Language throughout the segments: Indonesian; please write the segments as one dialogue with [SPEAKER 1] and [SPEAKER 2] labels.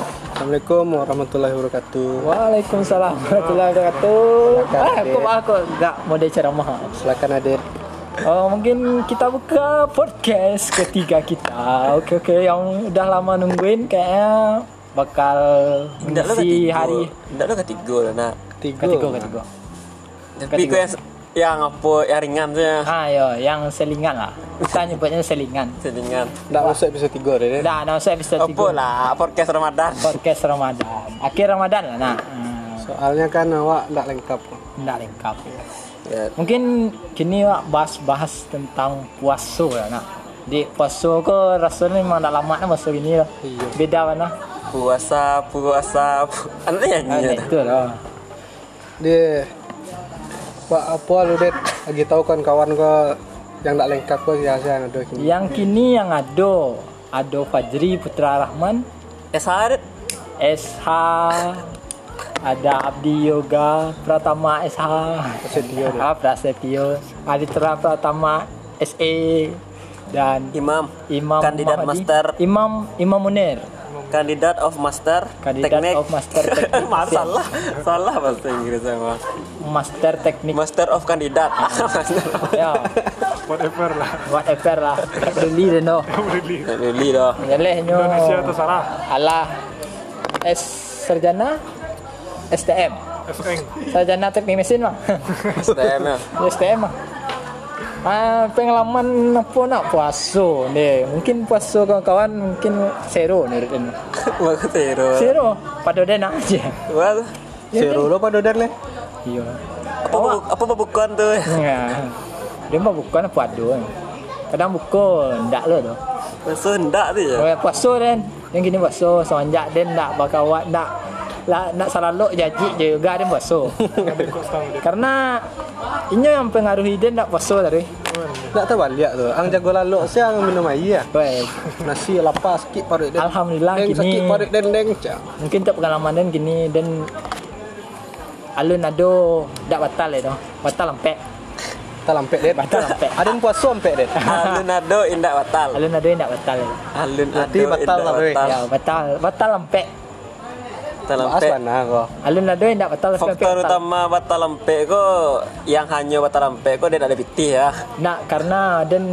[SPEAKER 1] Assalamualaikum warahmatullahi wabarakatuh.
[SPEAKER 2] Waalaikumsalam warahmatullahi wabarakatuh.
[SPEAKER 1] Silakan,
[SPEAKER 2] Ah, aku
[SPEAKER 1] Adit.
[SPEAKER 2] aku enggak model ceramah.
[SPEAKER 1] Silakan Adit.
[SPEAKER 2] Oh, mungkin kita buka podcast ketiga kita. Oke oke yang udah lama nungguin kayaknya bakal
[SPEAKER 3] Ndak lo
[SPEAKER 2] mengisi
[SPEAKER 3] ketiga.
[SPEAKER 2] hari
[SPEAKER 3] Ndak lo ketiga lah nak.
[SPEAKER 1] Tiga.
[SPEAKER 2] ketiga ketiga.
[SPEAKER 3] Tapi
[SPEAKER 2] Ketiga.
[SPEAKER 3] kau yang yang apa yang ringan tu ya.
[SPEAKER 2] Ah yo, yang selingan lah. Kita nyebutnya selingan.
[SPEAKER 3] Selingan.
[SPEAKER 1] Nggak masuk episode tiga Adit.
[SPEAKER 2] Dah, nah, saya episode
[SPEAKER 3] Apa
[SPEAKER 2] tiga.
[SPEAKER 3] lah podcast Ramadan.
[SPEAKER 2] Podcast Ramadan. Akhir Ramadan lah nak. Hmm,
[SPEAKER 1] Soalnya kan awak nggak lengkap.
[SPEAKER 2] ndak lengkap.
[SPEAKER 3] Ya.
[SPEAKER 2] Mungkin kini wak bahas-bahas tentang puasa lah nak. Di puasa ke rasanya memang dah lama nak puasa gini lah.
[SPEAKER 1] Iya.
[SPEAKER 2] Beda mana?
[SPEAKER 3] Puasa, puasa. pu- Anak ni ya,
[SPEAKER 2] Ah,
[SPEAKER 3] nyanyi. tu.
[SPEAKER 2] itu lah.
[SPEAKER 1] Dia Pak apa lu Det? Lagi tahu kan kawan kau yang nggak lengkap kau biasa ada ini.
[SPEAKER 2] Yang kini yang ada Ado Fajri Putra Rahman,
[SPEAKER 3] Eh Sarit.
[SPEAKER 2] SH ada Abdi Yoga Pratama SH
[SPEAKER 1] Prasetyo dia.
[SPEAKER 2] Ah, Prasetyo Aditya Pratama SE dan
[SPEAKER 3] Imam.
[SPEAKER 2] Imam
[SPEAKER 3] Kandidat
[SPEAKER 2] Mahdi.
[SPEAKER 3] master.
[SPEAKER 2] Imam Imam Munir
[SPEAKER 3] Kandidat of master.
[SPEAKER 2] Kandidat
[SPEAKER 3] teknik.
[SPEAKER 2] of master teknik.
[SPEAKER 3] Masalah. Salah bahasa Inggris sama.
[SPEAKER 2] Master Teknik
[SPEAKER 3] Master of kandidat.
[SPEAKER 2] ya
[SPEAKER 4] Whatever lah,
[SPEAKER 2] whatever lah really don't know
[SPEAKER 4] really.
[SPEAKER 3] Lili dah.
[SPEAKER 2] Yaleh nyo
[SPEAKER 4] Indonesia terserah,
[SPEAKER 2] alah S sarjana STM
[SPEAKER 4] SN.
[SPEAKER 2] sarjana teknik mesin mah
[SPEAKER 3] STM ya.
[SPEAKER 2] STM mah Ah, pengalaman apa nak puasa ni mungkin puasa kawan-kawan mungkin zero ni Rutin.
[SPEAKER 3] Bagus zero.
[SPEAKER 2] zero pada dia nak aje
[SPEAKER 3] Wah.
[SPEAKER 2] ya,
[SPEAKER 1] Seru lo pada Dan leh.
[SPEAKER 2] iya
[SPEAKER 3] Apa bu- apa bukan tu?
[SPEAKER 2] Ya. dia mah bukan apa ada kan kadang buka ndak lah tu
[SPEAKER 3] Masa ndak tu ya? je.
[SPEAKER 2] Oh, yang puasa kan. Yang gini puasa semenjak dia nak berkawan nak lah nak salalok jaji je juga dia puasa. Karena ini yang pengaruhi dia nak puasa tadi.
[SPEAKER 1] Nggak tahu balik tu. Ang jago lalok siang minum air ya.
[SPEAKER 2] Baik.
[SPEAKER 1] Nasi lapar sikit parut Den.
[SPEAKER 2] Alhamdulillah,
[SPEAKER 1] Deng
[SPEAKER 2] kini-
[SPEAKER 1] sakit parut Den deng cak.
[SPEAKER 2] Mungkin tak pengalaman dan gini dan alun ado tak batal itu. Batal lempek.
[SPEAKER 1] Tak lampek Den.
[SPEAKER 2] Tak lampek.
[SPEAKER 1] Ada yang puasa lampek Den.
[SPEAKER 3] Alun ado indak batal.
[SPEAKER 2] Alun ado yang tak batal.
[SPEAKER 3] Alun
[SPEAKER 1] Berarti
[SPEAKER 3] ado
[SPEAKER 1] batal lah, weh.
[SPEAKER 2] Ya, batal. Batal lempek.
[SPEAKER 3] Batal
[SPEAKER 1] Bahas
[SPEAKER 3] lempek.
[SPEAKER 1] mana lah kau?
[SPEAKER 2] Alun ado yang tak batal lempek.
[SPEAKER 3] Faktor
[SPEAKER 2] batal.
[SPEAKER 3] utama batal lempek ko yang hanya batal lempek ko dia tak ada piti ya.
[SPEAKER 2] Nak karena dan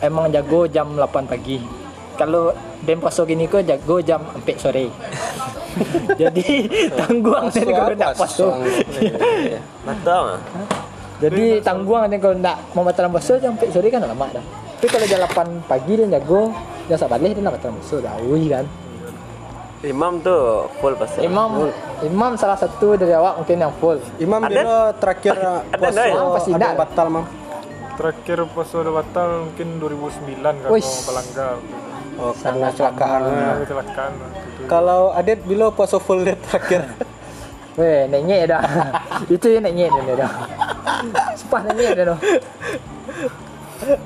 [SPEAKER 2] emang jago jam 8 pagi. Kalau dan puasa gini ko jago jam 4 sore. Jadi tangguang dan
[SPEAKER 1] Puasa
[SPEAKER 2] kalau
[SPEAKER 1] apa,
[SPEAKER 2] nak puasa.
[SPEAKER 3] Batal mah.
[SPEAKER 2] Jadi tangguang dan kalau nak mau batal puasa jam 4 sore kan dah lama dah. Tapi kalau jam 8 pagi dan jago jam sabar dia nak batal puasa dah ui kan.
[SPEAKER 3] Imam tu full pasal.
[SPEAKER 2] Imam Imam salah satu dari awak mungkin yang full.
[SPEAKER 1] Imam
[SPEAKER 3] Ada?
[SPEAKER 1] dia terakhir uh,
[SPEAKER 3] Ada,
[SPEAKER 1] puasa
[SPEAKER 3] Nay?
[SPEAKER 2] Apa sih,
[SPEAKER 1] ada
[SPEAKER 2] Nak?
[SPEAKER 1] batal mam.
[SPEAKER 4] Terakhir pas udah batal mungkin 2009 kan
[SPEAKER 2] Wish.
[SPEAKER 4] kalau pelangga.
[SPEAKER 1] Oh, karena kecelakaan.
[SPEAKER 4] Nah, kecelakaan waktu itu.
[SPEAKER 1] Kalau Adit bila puasa full dia terakhir.
[SPEAKER 2] Weh, nak nyek dah. Itu yang nak nyek dah dah. Sumpah nak nyek dah dah.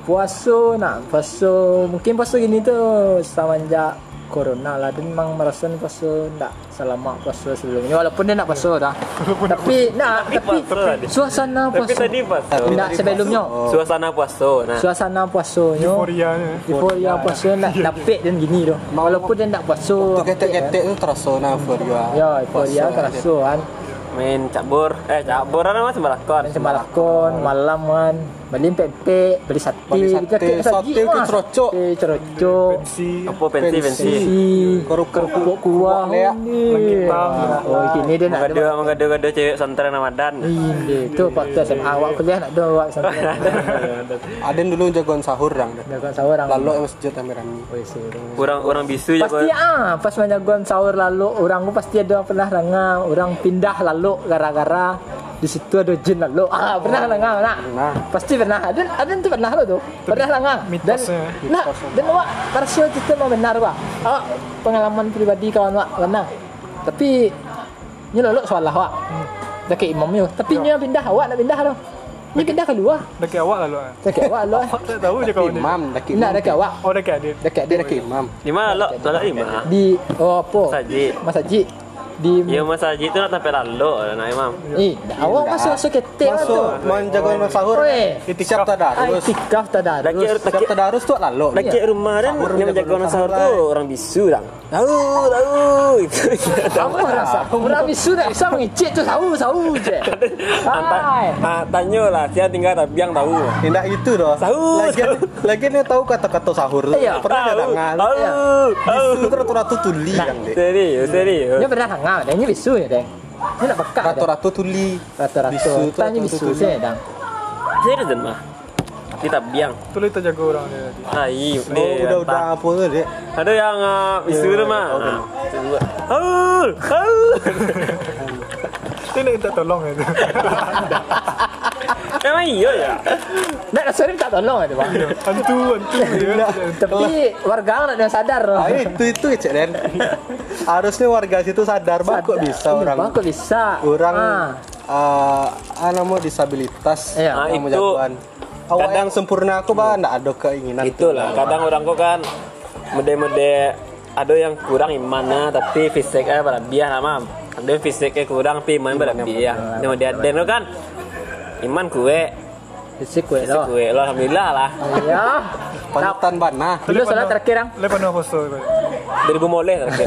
[SPEAKER 2] Puasa nak, puasa. Mungkin puasa gini tu semenjak corona lah dan memang merasa ni puasa tak selama puasa sebelumnya walaupun dia nak puasa dah tapi nak tapi
[SPEAKER 3] Hmm. puasa tadi.
[SPEAKER 2] suasana
[SPEAKER 3] Tapi
[SPEAKER 2] puasa
[SPEAKER 3] tadi puasa.
[SPEAKER 5] Nah.
[SPEAKER 2] tak sebelumnya
[SPEAKER 3] Suasana puasa nah.
[SPEAKER 2] suasana puasanya
[SPEAKER 4] Euforianya.
[SPEAKER 2] euforia puasa nak dapet dan gini tu walaupun dia nak
[SPEAKER 1] Tu
[SPEAKER 2] puasa apa dia,
[SPEAKER 1] ketek-ketek tu terasa nah euforia.
[SPEAKER 2] ya euforia
[SPEAKER 1] Puasa, Adit.
[SPEAKER 2] kerasa kan
[SPEAKER 3] Main cabur. Eh cabur ana mah sembalakon.
[SPEAKER 2] Main semalakon, malam kan Beli pempek, beli sate
[SPEAKER 1] Beli sate, sate ke cerocok?
[SPEAKER 2] Sate, cerocok
[SPEAKER 4] Pensi,
[SPEAKER 3] Apa pensi pensi.
[SPEAKER 2] Si
[SPEAKER 1] Kerupuk-kerupuk
[SPEAKER 2] kuah
[SPEAKER 1] leak.
[SPEAKER 2] ni. Oh, gini dia nak ada
[SPEAKER 3] Mengadu mengadu gadu cewek pesantren Ramadan.
[SPEAKER 2] Ini tu waktu SMA awak kuliah nak ada awak sampai
[SPEAKER 1] Adit dulu jagoan sahur dang. Dek.
[SPEAKER 2] Dah kawan sahur orang.
[SPEAKER 1] Lalu yang masjid Amirani.
[SPEAKER 2] Oi, suruh.
[SPEAKER 3] Orang orang bisu je
[SPEAKER 2] Pasti ah, pas menjagoan sahur lalu orang ku pasti ada pernah langa orang pindah lalu gara-gara di situ ada jin lalu. Ah, pernah langa nak.
[SPEAKER 1] Pernah.
[SPEAKER 2] Pasti pernah. Ada ada tu pernah lo tu. Pernah langa.
[SPEAKER 4] mitosnya.
[SPEAKER 2] Nah, dan awak rasio itu memang benar pak. Awak pengalaman pribadi kawan awak lana. Tapi ni lalu salah awak. Dah ke imam yo. Tapi ni pindah awak nak pindah tu. Ni pindah keluar.
[SPEAKER 4] daki awak lalu. ah.
[SPEAKER 2] Dekat awak lo.
[SPEAKER 4] Awak tak tahu je kawan dia.
[SPEAKER 1] Imam daki.
[SPEAKER 2] Nak dekat awak.
[SPEAKER 4] Oh daki adik.
[SPEAKER 2] Dekat
[SPEAKER 1] Dia
[SPEAKER 2] dia
[SPEAKER 1] daki imam.
[SPEAKER 3] Lima lo, lo lima.
[SPEAKER 2] di oh apa?
[SPEAKER 3] Sajid.
[SPEAKER 2] Masjid. di
[SPEAKER 3] Iya Mas Haji itu nak tampil lalo nak imam.
[SPEAKER 2] Eh, dah awak masuk masuk ketik lah tu.
[SPEAKER 5] Masuk menjaga sahur.
[SPEAKER 2] Weh.
[SPEAKER 5] Siap tadarus.
[SPEAKER 2] Itikaf
[SPEAKER 3] Lagi
[SPEAKER 2] tadarus.
[SPEAKER 5] Siap
[SPEAKER 3] lagi
[SPEAKER 5] tadarus tu lalu.
[SPEAKER 3] lagi rumah dan
[SPEAKER 5] Iya. Sahur,
[SPEAKER 3] yang
[SPEAKER 5] menjaga
[SPEAKER 3] menjaga orang sahur
[SPEAKER 5] sahur,
[SPEAKER 3] tu
[SPEAKER 5] lah.
[SPEAKER 3] orang bisu dang. Tahu, tahu. Itu.
[SPEAKER 2] Kamu rasa Rabi sudah bisa mengicik tu sahu sahu je. Hai.
[SPEAKER 3] Tanya lah, saya tinggal tapi yang tahu.
[SPEAKER 5] Tidak itu doh.
[SPEAKER 3] Sahur,
[SPEAKER 5] Lagi,
[SPEAKER 3] sahur.
[SPEAKER 5] lagi dia tahu kata-kata sahur. tu.
[SPEAKER 2] Iya.
[SPEAKER 5] Pernah ada Iya.
[SPEAKER 3] Tahu,
[SPEAKER 5] ngal.
[SPEAKER 3] tahu, tahu.
[SPEAKER 5] Itu ratu-ratu tuli yang dek.
[SPEAKER 3] Serius, serius.
[SPEAKER 2] Dia pernah hangat, dia ni bisu ya deng. Dia nak bekak. deng.
[SPEAKER 5] Ratu-ratu tuli. Bisu
[SPEAKER 2] Rata-rata.
[SPEAKER 5] tu
[SPEAKER 2] Nah, Tanya
[SPEAKER 5] ratu-ratu
[SPEAKER 2] bisu
[SPEAKER 5] tuli.
[SPEAKER 2] je dang.
[SPEAKER 3] Serius dan mah. Kita biang.
[SPEAKER 4] Tulis tak jaga orang dia tadi.
[SPEAKER 3] Hai,
[SPEAKER 5] Oh, Iya, udah-udah apa tu dek?
[SPEAKER 3] Ada yang uh, bisu tu mah. Tahu, tahu.
[SPEAKER 4] Itu nak minta tolong ya.
[SPEAKER 3] Emang iya ya.
[SPEAKER 2] Nak rasa dia tak tolong ada bang.
[SPEAKER 4] Hantu, hantu dia.
[SPEAKER 2] Tapi warga orang nak dia sadar lah.
[SPEAKER 5] Ah, itu itu cek Den. Harusnya warga situ sadar bang kok bisa orang
[SPEAKER 2] Bang kok bisa.
[SPEAKER 5] orang
[SPEAKER 2] Iya, Ah.
[SPEAKER 5] ah, ah, nama disabilitas
[SPEAKER 2] Iya.
[SPEAKER 5] yang
[SPEAKER 3] Ah, itu
[SPEAKER 5] menjagoan. Awak
[SPEAKER 3] kadang-
[SPEAKER 5] yang sempurna aku bah ndak ada keinginan. Nah,
[SPEAKER 3] Itulah, kadang orang kok kan mede-mede ada yang kurang imannya tapi fisiknya berlebihan lah mam. Ada yang fisiknya kurang tapi iman berlebihan. Nah, dia ada kan iman kue,
[SPEAKER 2] Bisik kuih
[SPEAKER 3] fisik
[SPEAKER 2] lah.
[SPEAKER 3] kue. Lo alhamdulillah lah.
[SPEAKER 2] Ya.
[SPEAKER 5] Panutan Nah, bana.
[SPEAKER 2] Dulu soalan terakhir Ang.
[SPEAKER 4] Lepas nak poso.
[SPEAKER 3] Dari boleh terakhir.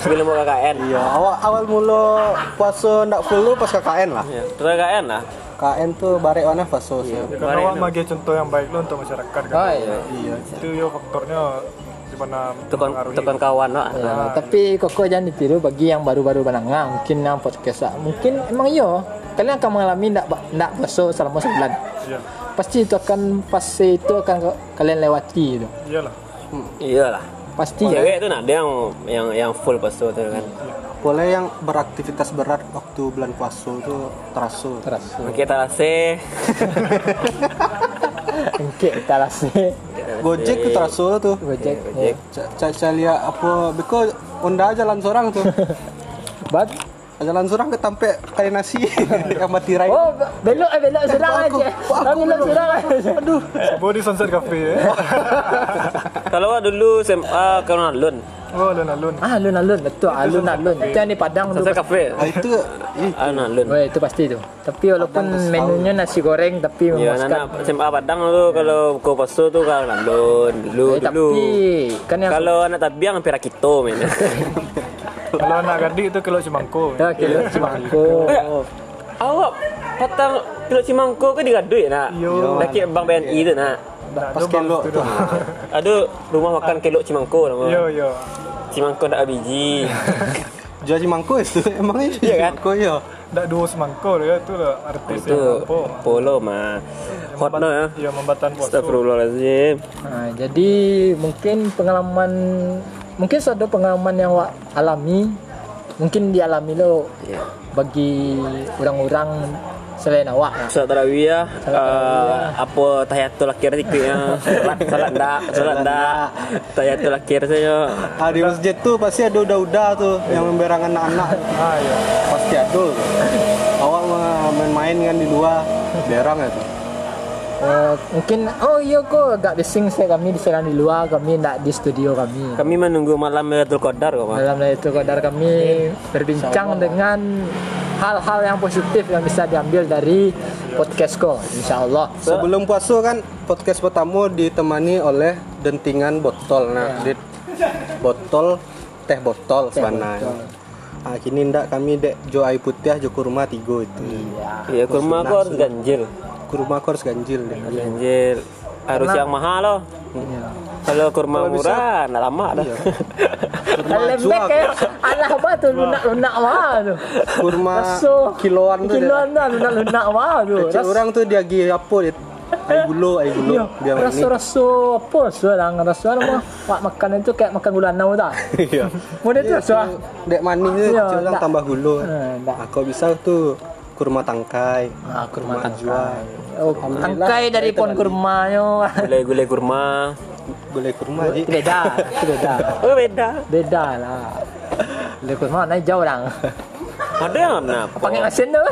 [SPEAKER 3] Sebelum mau KKN.
[SPEAKER 5] Iya, awal awal mulu puasa ndak full tu pas KKN lah.
[SPEAKER 3] Ya, terus KKN lah.
[SPEAKER 5] KKN tu barek warna puasa. sih.
[SPEAKER 4] Karena awak bagi contoh yang baik lo untuk masyarakat kan.
[SPEAKER 2] Oh, iya.
[SPEAKER 5] Iya.
[SPEAKER 4] Itu yo faktornya di mana
[SPEAKER 3] Tukon
[SPEAKER 4] mempengaruhi.
[SPEAKER 3] tukon kawan lah.
[SPEAKER 2] Ya, tapi koko jangan ditiru bagi yang baru-baru menengah mungkin yang podcast lah. Mungkin emang iyo kalian akan mengalami ndak ndak puasa selama sebulan.
[SPEAKER 4] Iya.
[SPEAKER 2] Pasti itu akan pasti itu akan ko- kalian lewati itu.
[SPEAKER 4] Iyalah.
[SPEAKER 3] Iyalah.
[SPEAKER 2] Pasti ya.
[SPEAKER 3] Iya Cewek itu nah ada yang yang yang full pastu tu kan.
[SPEAKER 5] Boleh yang beraktivitas berat waktu bulan puasa tu terasa.
[SPEAKER 2] Terus.
[SPEAKER 3] Kita rasa
[SPEAKER 2] Engke kita rasa
[SPEAKER 5] Gojek tu terasa tu.
[SPEAKER 2] Gojek.
[SPEAKER 3] Gojek.
[SPEAKER 5] Cak cak lihat apa beko onda jalan seorang tu.
[SPEAKER 2] Bat.
[SPEAKER 5] Jalan seorang ke tampek kali nasi yang mati rai.
[SPEAKER 2] Oh, be- belok eh belok serang
[SPEAKER 5] Aku-
[SPEAKER 2] aja.
[SPEAKER 5] aku
[SPEAKER 2] Aku belok
[SPEAKER 5] belok.
[SPEAKER 2] serang aja. Aduh.
[SPEAKER 4] Sebuah di Sunset Cafe eh.
[SPEAKER 3] kalau awak dulu SMA kena lun.
[SPEAKER 4] Oh, alun-alun.
[SPEAKER 2] Ah, alun-alun betul alun-alun. Itu yang di Padang tu.
[SPEAKER 3] Saya kafe.
[SPEAKER 5] Ah, itu ih,
[SPEAKER 3] Ana lun.
[SPEAKER 2] Weh, itu pasti tu. Tapi walaupun
[SPEAKER 5] Padang tu
[SPEAKER 2] menunya nasi goreng tapi
[SPEAKER 3] Ya,
[SPEAKER 2] memuaskan.
[SPEAKER 3] anak SMA Padang tu kalau kau pasu tu kan lun dulu
[SPEAKER 2] Eh,
[SPEAKER 3] dulu.
[SPEAKER 2] tapi kan yang
[SPEAKER 3] Kalau anak tabiang pira kita men.
[SPEAKER 4] Kalau anak gadis itu kalau cemangko.
[SPEAKER 2] Ya, kira cimangko.
[SPEAKER 3] Eh, Awak patang kilo cimangko ke digadui nak.
[SPEAKER 4] Yo.
[SPEAKER 3] Laki abang BNI tu nak.
[SPEAKER 5] pas kelok tu.
[SPEAKER 3] Ada rumah makan kilo cimangko nama.
[SPEAKER 4] Yo yo.
[SPEAKER 3] Cimangko tak biji.
[SPEAKER 5] Jual mangkuk itu emang itu
[SPEAKER 3] Iya kan?
[SPEAKER 5] mangkuk ya.
[SPEAKER 4] Dak dua semangko ya itu lah artis
[SPEAKER 3] Itu
[SPEAKER 4] yang apa.
[SPEAKER 3] polo mah. Hot no ya.
[SPEAKER 4] Iya, membatan puasa.
[SPEAKER 3] Astagfirullahalazim.
[SPEAKER 2] Ha, Nah, jadi mungkin pengalaman mungkin suatu pengalaman yang wak alami mungkin dialami lo
[SPEAKER 3] Ya.
[SPEAKER 2] bagi orang-orang selain awak lah.
[SPEAKER 3] Salat tarawih ya. Eh, apa tahiyatul akhir dikit ya. Salat salat dak, salat dak. Tahiyatul akhir saya. ya.
[SPEAKER 5] Ah, di masjid tu pasti ada udah-udah tu yang memberang anak-anak
[SPEAKER 4] Ah iya.
[SPEAKER 5] pasti ada. tu. Awak mah main-main kan di luar berang ya itu.
[SPEAKER 2] Eh, mungkin oh iya kok agak bising saya kami di sana di luar kami tidak di studio kami.
[SPEAKER 3] Kami menunggu malam Lailatul Qadar kok, Mas.
[SPEAKER 2] Dalam itu kodar kami berbincang dengan hal-hal yang positif yang bisa diambil dari podcast ko insyaallah.
[SPEAKER 5] Sebelum puasa kan podcast pertama ditemani oleh dentingan botol.
[SPEAKER 2] Iya.
[SPEAKER 5] Nah, dit- botol teh botol sebenarnya.
[SPEAKER 2] botol.
[SPEAKER 5] Ah, kini ndak kami dek jo air putih jo kurma tiga itu.
[SPEAKER 2] Iya.
[SPEAKER 5] Nah,
[SPEAKER 3] Ya, kurma aku harus ganjil.
[SPEAKER 5] Kurma kau harus ganjil deh.
[SPEAKER 2] Iya.
[SPEAKER 3] Ganjil. Harus yang mahal loh. Kalau kurma murah, nak lama dah.
[SPEAKER 2] Lembek ya. Alah apa tu lunak-lunak mah tu.
[SPEAKER 5] Kurma
[SPEAKER 2] Masuk.
[SPEAKER 5] kiloan tu.
[SPEAKER 2] Kiloan dah lunak-lunak mah tu.
[SPEAKER 5] Cik
[SPEAKER 2] Ras-
[SPEAKER 5] orang tu dia gi apa dia air gulung, air
[SPEAKER 2] Yo,
[SPEAKER 5] gulung biar
[SPEAKER 2] Iya, rasa
[SPEAKER 5] manis.
[SPEAKER 2] rasa apa lah, seorang rasa orang mah pak makan itu kayak makan gula nau tak.
[SPEAKER 5] Iya.
[SPEAKER 2] Model
[SPEAKER 5] Ya,
[SPEAKER 2] tu rasa.
[SPEAKER 5] Dek manis tu
[SPEAKER 2] Ya,
[SPEAKER 5] cik orang
[SPEAKER 2] tak.
[SPEAKER 5] tambah gulung.
[SPEAKER 2] Eh, tak.
[SPEAKER 5] Ah, kau bisa tu kurma tangkai.
[SPEAKER 2] Ah, kurma
[SPEAKER 5] jual.
[SPEAKER 2] tangkai. Oh,
[SPEAKER 5] Alhamdulillah,
[SPEAKER 2] tangkai dari
[SPEAKER 5] saya
[SPEAKER 2] pohon
[SPEAKER 5] terbalik.
[SPEAKER 2] kurma yo.
[SPEAKER 3] Gulai-gulai kurma.
[SPEAKER 5] Boleh kurma je.
[SPEAKER 2] Beda, itu beda.
[SPEAKER 3] Oh, beda.
[SPEAKER 2] Beda lah. Gula kurma naik jauh orang.
[SPEAKER 3] Ada yang kenapa?
[SPEAKER 2] Panggil mesin tu.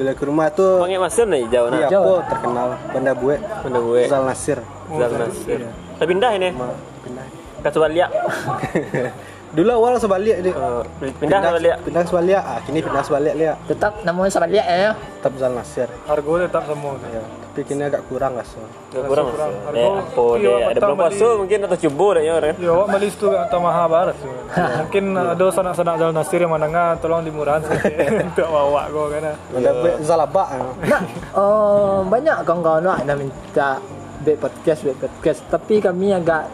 [SPEAKER 5] Boleh kurma tu
[SPEAKER 3] Panggil masin nih jauh
[SPEAKER 5] Iya,
[SPEAKER 3] nak.
[SPEAKER 5] aku terkenal Banda Bue,
[SPEAKER 3] Benda gue.
[SPEAKER 5] Zal Nasir.
[SPEAKER 3] Zal Nasir. Tapi pindah ini.
[SPEAKER 5] Ma- Pindah.
[SPEAKER 3] Kasual liak.
[SPEAKER 5] Dulu awal sebalik dia.
[SPEAKER 3] Eh, pindah ke Balik.
[SPEAKER 5] Pindah sebalik. Ah, kini pindah sebalik dia.
[SPEAKER 2] tetap namanya sama dia ya
[SPEAKER 5] Tetap Zal Nasir.
[SPEAKER 4] Harga tetap sama.
[SPEAKER 5] Ya, tapi kini agak kurang lah so.
[SPEAKER 3] Nggak kurang.
[SPEAKER 4] kurang.
[SPEAKER 3] Mas. Eh, apa
[SPEAKER 4] Iya,
[SPEAKER 3] dia? Ada
[SPEAKER 4] petang
[SPEAKER 3] berapa
[SPEAKER 4] beli.
[SPEAKER 3] so mungkin atau cubo dah ya orang.
[SPEAKER 4] Ya, awak beli situ kat Taman Mahabharat tu. Mungkin ada sanak-sanak Jalan Nasir yang mendengar, tolong dimurahan sikit untuk awak kau kan. kena.
[SPEAKER 5] Ada yeah. Zalabak. ya.
[SPEAKER 2] nah oh, banyak kawan-kawan wak nak minta back podcast back podcast tapi kami agak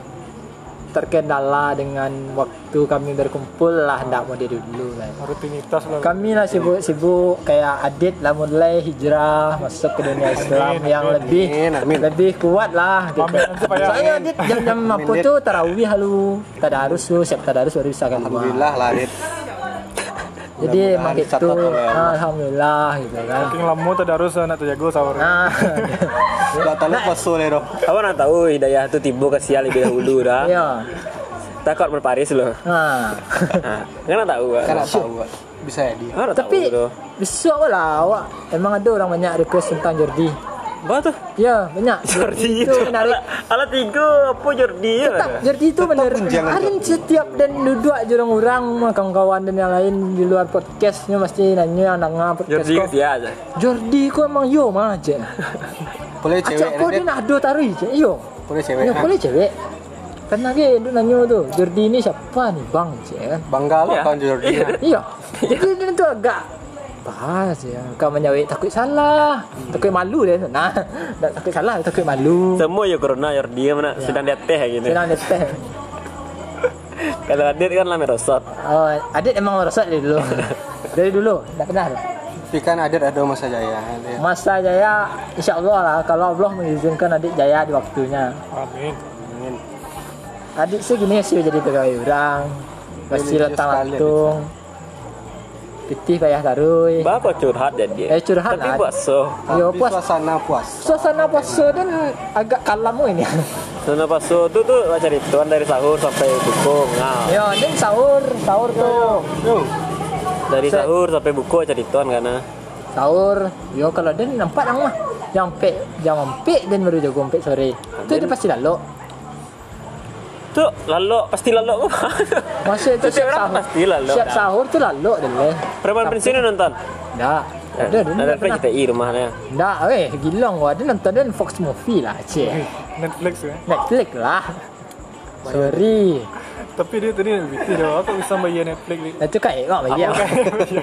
[SPEAKER 2] terkendala dengan waktu kami berkumpul lah ndak mau dia dulu kan
[SPEAKER 4] Rutinitas lah.
[SPEAKER 5] Kan-
[SPEAKER 2] kami lah sibuk-sibuk kayak Adit lah mulai hijrah masuk ke dunia Islam yang lebih
[SPEAKER 5] Amin, amin.
[SPEAKER 2] lebih kuat lah gitu.
[SPEAKER 4] Amin, supaya-
[SPEAKER 2] Soalnya Adit jam-jam apa
[SPEAKER 5] Dit.
[SPEAKER 2] tuh tarawih halu tadarus tuh siap tadarus baru bisa kan
[SPEAKER 5] Alhamdulillah lah Dit.
[SPEAKER 2] Jadi
[SPEAKER 5] Mudah-mudahan
[SPEAKER 2] emang gitu.
[SPEAKER 5] dicatat ya. oleh Allah.
[SPEAKER 2] Alhamdulillah gitu kan.
[SPEAKER 4] King lamu tak darus nak terjaga sahur.
[SPEAKER 2] Nah,
[SPEAKER 5] Enggak tahu pasu le doh.
[SPEAKER 3] Apa nak tahu hidayah tu tiba ke sial lebih dahulu dah.
[SPEAKER 2] iya.
[SPEAKER 3] Takut berparis loh.
[SPEAKER 2] Nah.
[SPEAKER 3] Ah, Kan nak tahu.
[SPEAKER 5] Kan nak tahu. kan. Bisa ya dia.
[SPEAKER 3] Kan
[SPEAKER 2] Tapi besok lah awak emang ada orang banyak request tentang Jordi.
[SPEAKER 3] Bah tu.
[SPEAKER 2] Ya, banyak.
[SPEAKER 3] Jordi
[SPEAKER 2] itu
[SPEAKER 3] itu.
[SPEAKER 2] menarik.
[SPEAKER 3] Alat tiga apa Jordi ya?
[SPEAKER 2] Tetap Jordi itu menarik.
[SPEAKER 5] jangan
[SPEAKER 2] Ada setiap dan duduk jurang orang kawan-kawan dan yang lain di luar podcastnya mesti nanya yang dengar podcast
[SPEAKER 3] Jordi
[SPEAKER 2] kau.
[SPEAKER 3] dia aja.
[SPEAKER 2] Jordi kau emang yo mah aja.
[SPEAKER 5] Boleh cewek
[SPEAKER 2] Acak
[SPEAKER 5] lah,
[SPEAKER 2] kau dia
[SPEAKER 5] Dit.
[SPEAKER 2] nak adu taruh je. Yo.
[SPEAKER 5] Boleh cewek.
[SPEAKER 2] Ya,
[SPEAKER 5] ah.
[SPEAKER 2] boleh cewek. Karena dia duduk nanya tu, Jordi ni siapa ni bang je kan.
[SPEAKER 5] Bangga lah
[SPEAKER 3] Ya.
[SPEAKER 5] kawan Jordi.
[SPEAKER 3] Iya.
[SPEAKER 2] Iya. Jadi dia tu agak Bahas ya. Kau menyawik takut salah. Takut malu dia. tu. Nah, tak takut salah, takut malu.
[SPEAKER 3] Semua ya corona Jordi ya mana sedang dia teh gitu.
[SPEAKER 2] Senang dia teh.
[SPEAKER 3] Kalau hadir kan lama rosot.
[SPEAKER 2] Oh, Adit emang merosot dari dulu. dari dulu, tak pernah. tu.
[SPEAKER 5] Tapi kan Adit ada masa jaya. Dia.
[SPEAKER 2] Masa Jaya, insya Allah lah. Kalau Allah mengizinkan Adit Jaya di waktunya.
[SPEAKER 4] Amin.
[SPEAKER 2] Adik sih gini sih jadi pegawai orang. Pasti
[SPEAKER 5] Religius
[SPEAKER 2] letang
[SPEAKER 5] sekali,
[SPEAKER 2] lantung. Pitih payah tarui.
[SPEAKER 3] Bapak curhat jadi.
[SPEAKER 2] Ya. Eh, curhat
[SPEAKER 3] Tapi
[SPEAKER 2] lah.
[SPEAKER 3] buat so.
[SPEAKER 2] Yo
[SPEAKER 5] Tapi
[SPEAKER 2] Iya, puas.
[SPEAKER 5] suasana puas.
[SPEAKER 2] Suasana puasa dan agak kalam ini.
[SPEAKER 3] Dan lepas tu tu tu macam rituan dari sahur sampai buku ngah.
[SPEAKER 2] Yo, dan sahur, sahur tuh.
[SPEAKER 3] Dari
[SPEAKER 2] Set.
[SPEAKER 3] sahur sampai buku aja rituan kan, nah. karena.
[SPEAKER 2] Sahur. Yo kalau dan nampak nang mah. Yang pek, yang pek dan baru jago pek sore. Itu dia pasti lalu.
[SPEAKER 3] Tu lalok pasti lalok kau.
[SPEAKER 2] Masih itu
[SPEAKER 3] Setiap
[SPEAKER 2] siap
[SPEAKER 3] orang
[SPEAKER 2] sahur.
[SPEAKER 3] pasti lalok
[SPEAKER 2] Siap
[SPEAKER 3] dah.
[SPEAKER 2] sahur tuh lalu deh.
[SPEAKER 3] Preman pensiun nonton.
[SPEAKER 2] Dah. Ada eh. dulu.
[SPEAKER 3] Eh, Ada
[SPEAKER 2] pernah.
[SPEAKER 3] PCTI rumahnya.
[SPEAKER 2] Dah, weh, gilang gua ada nonton dan Fox Movie lah, cek.
[SPEAKER 4] Netflix ya.
[SPEAKER 2] Netflix lah. Sorry.
[SPEAKER 4] Tapi dia tadi BT dia aku bisa bayar Netflix ni.
[SPEAKER 2] Itu kan awak bagi
[SPEAKER 3] Ah,
[SPEAKER 2] aku.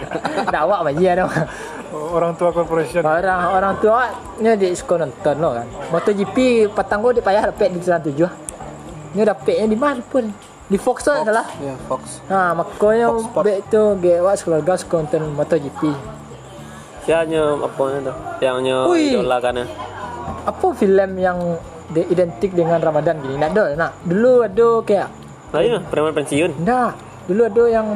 [SPEAKER 2] Dah awak bagi aku.
[SPEAKER 4] Orang tua corporation.
[SPEAKER 2] Orang orang tua ni dia suka nonton lo kan. MotoGP petang gua dia payah dapat di jalan tujuh. Ni dapatnya di mana pun. Di Fox tu adalah.
[SPEAKER 5] Ya, Fox.
[SPEAKER 2] Ha, makanya
[SPEAKER 5] Fox Sport.
[SPEAKER 2] baik tu gay awak sekeluarga suka nonton MotoGP.
[SPEAKER 3] Sianya apa ni tu? Sianya
[SPEAKER 2] Ui.
[SPEAKER 3] idola kan, nah. karena.
[SPEAKER 2] Apa filem yang dia identik dengan Ramadan gini? Nak ada nak. Dulu ada kayak.
[SPEAKER 3] Lain lah preman pensiun.
[SPEAKER 2] Dah. Dulu ada yang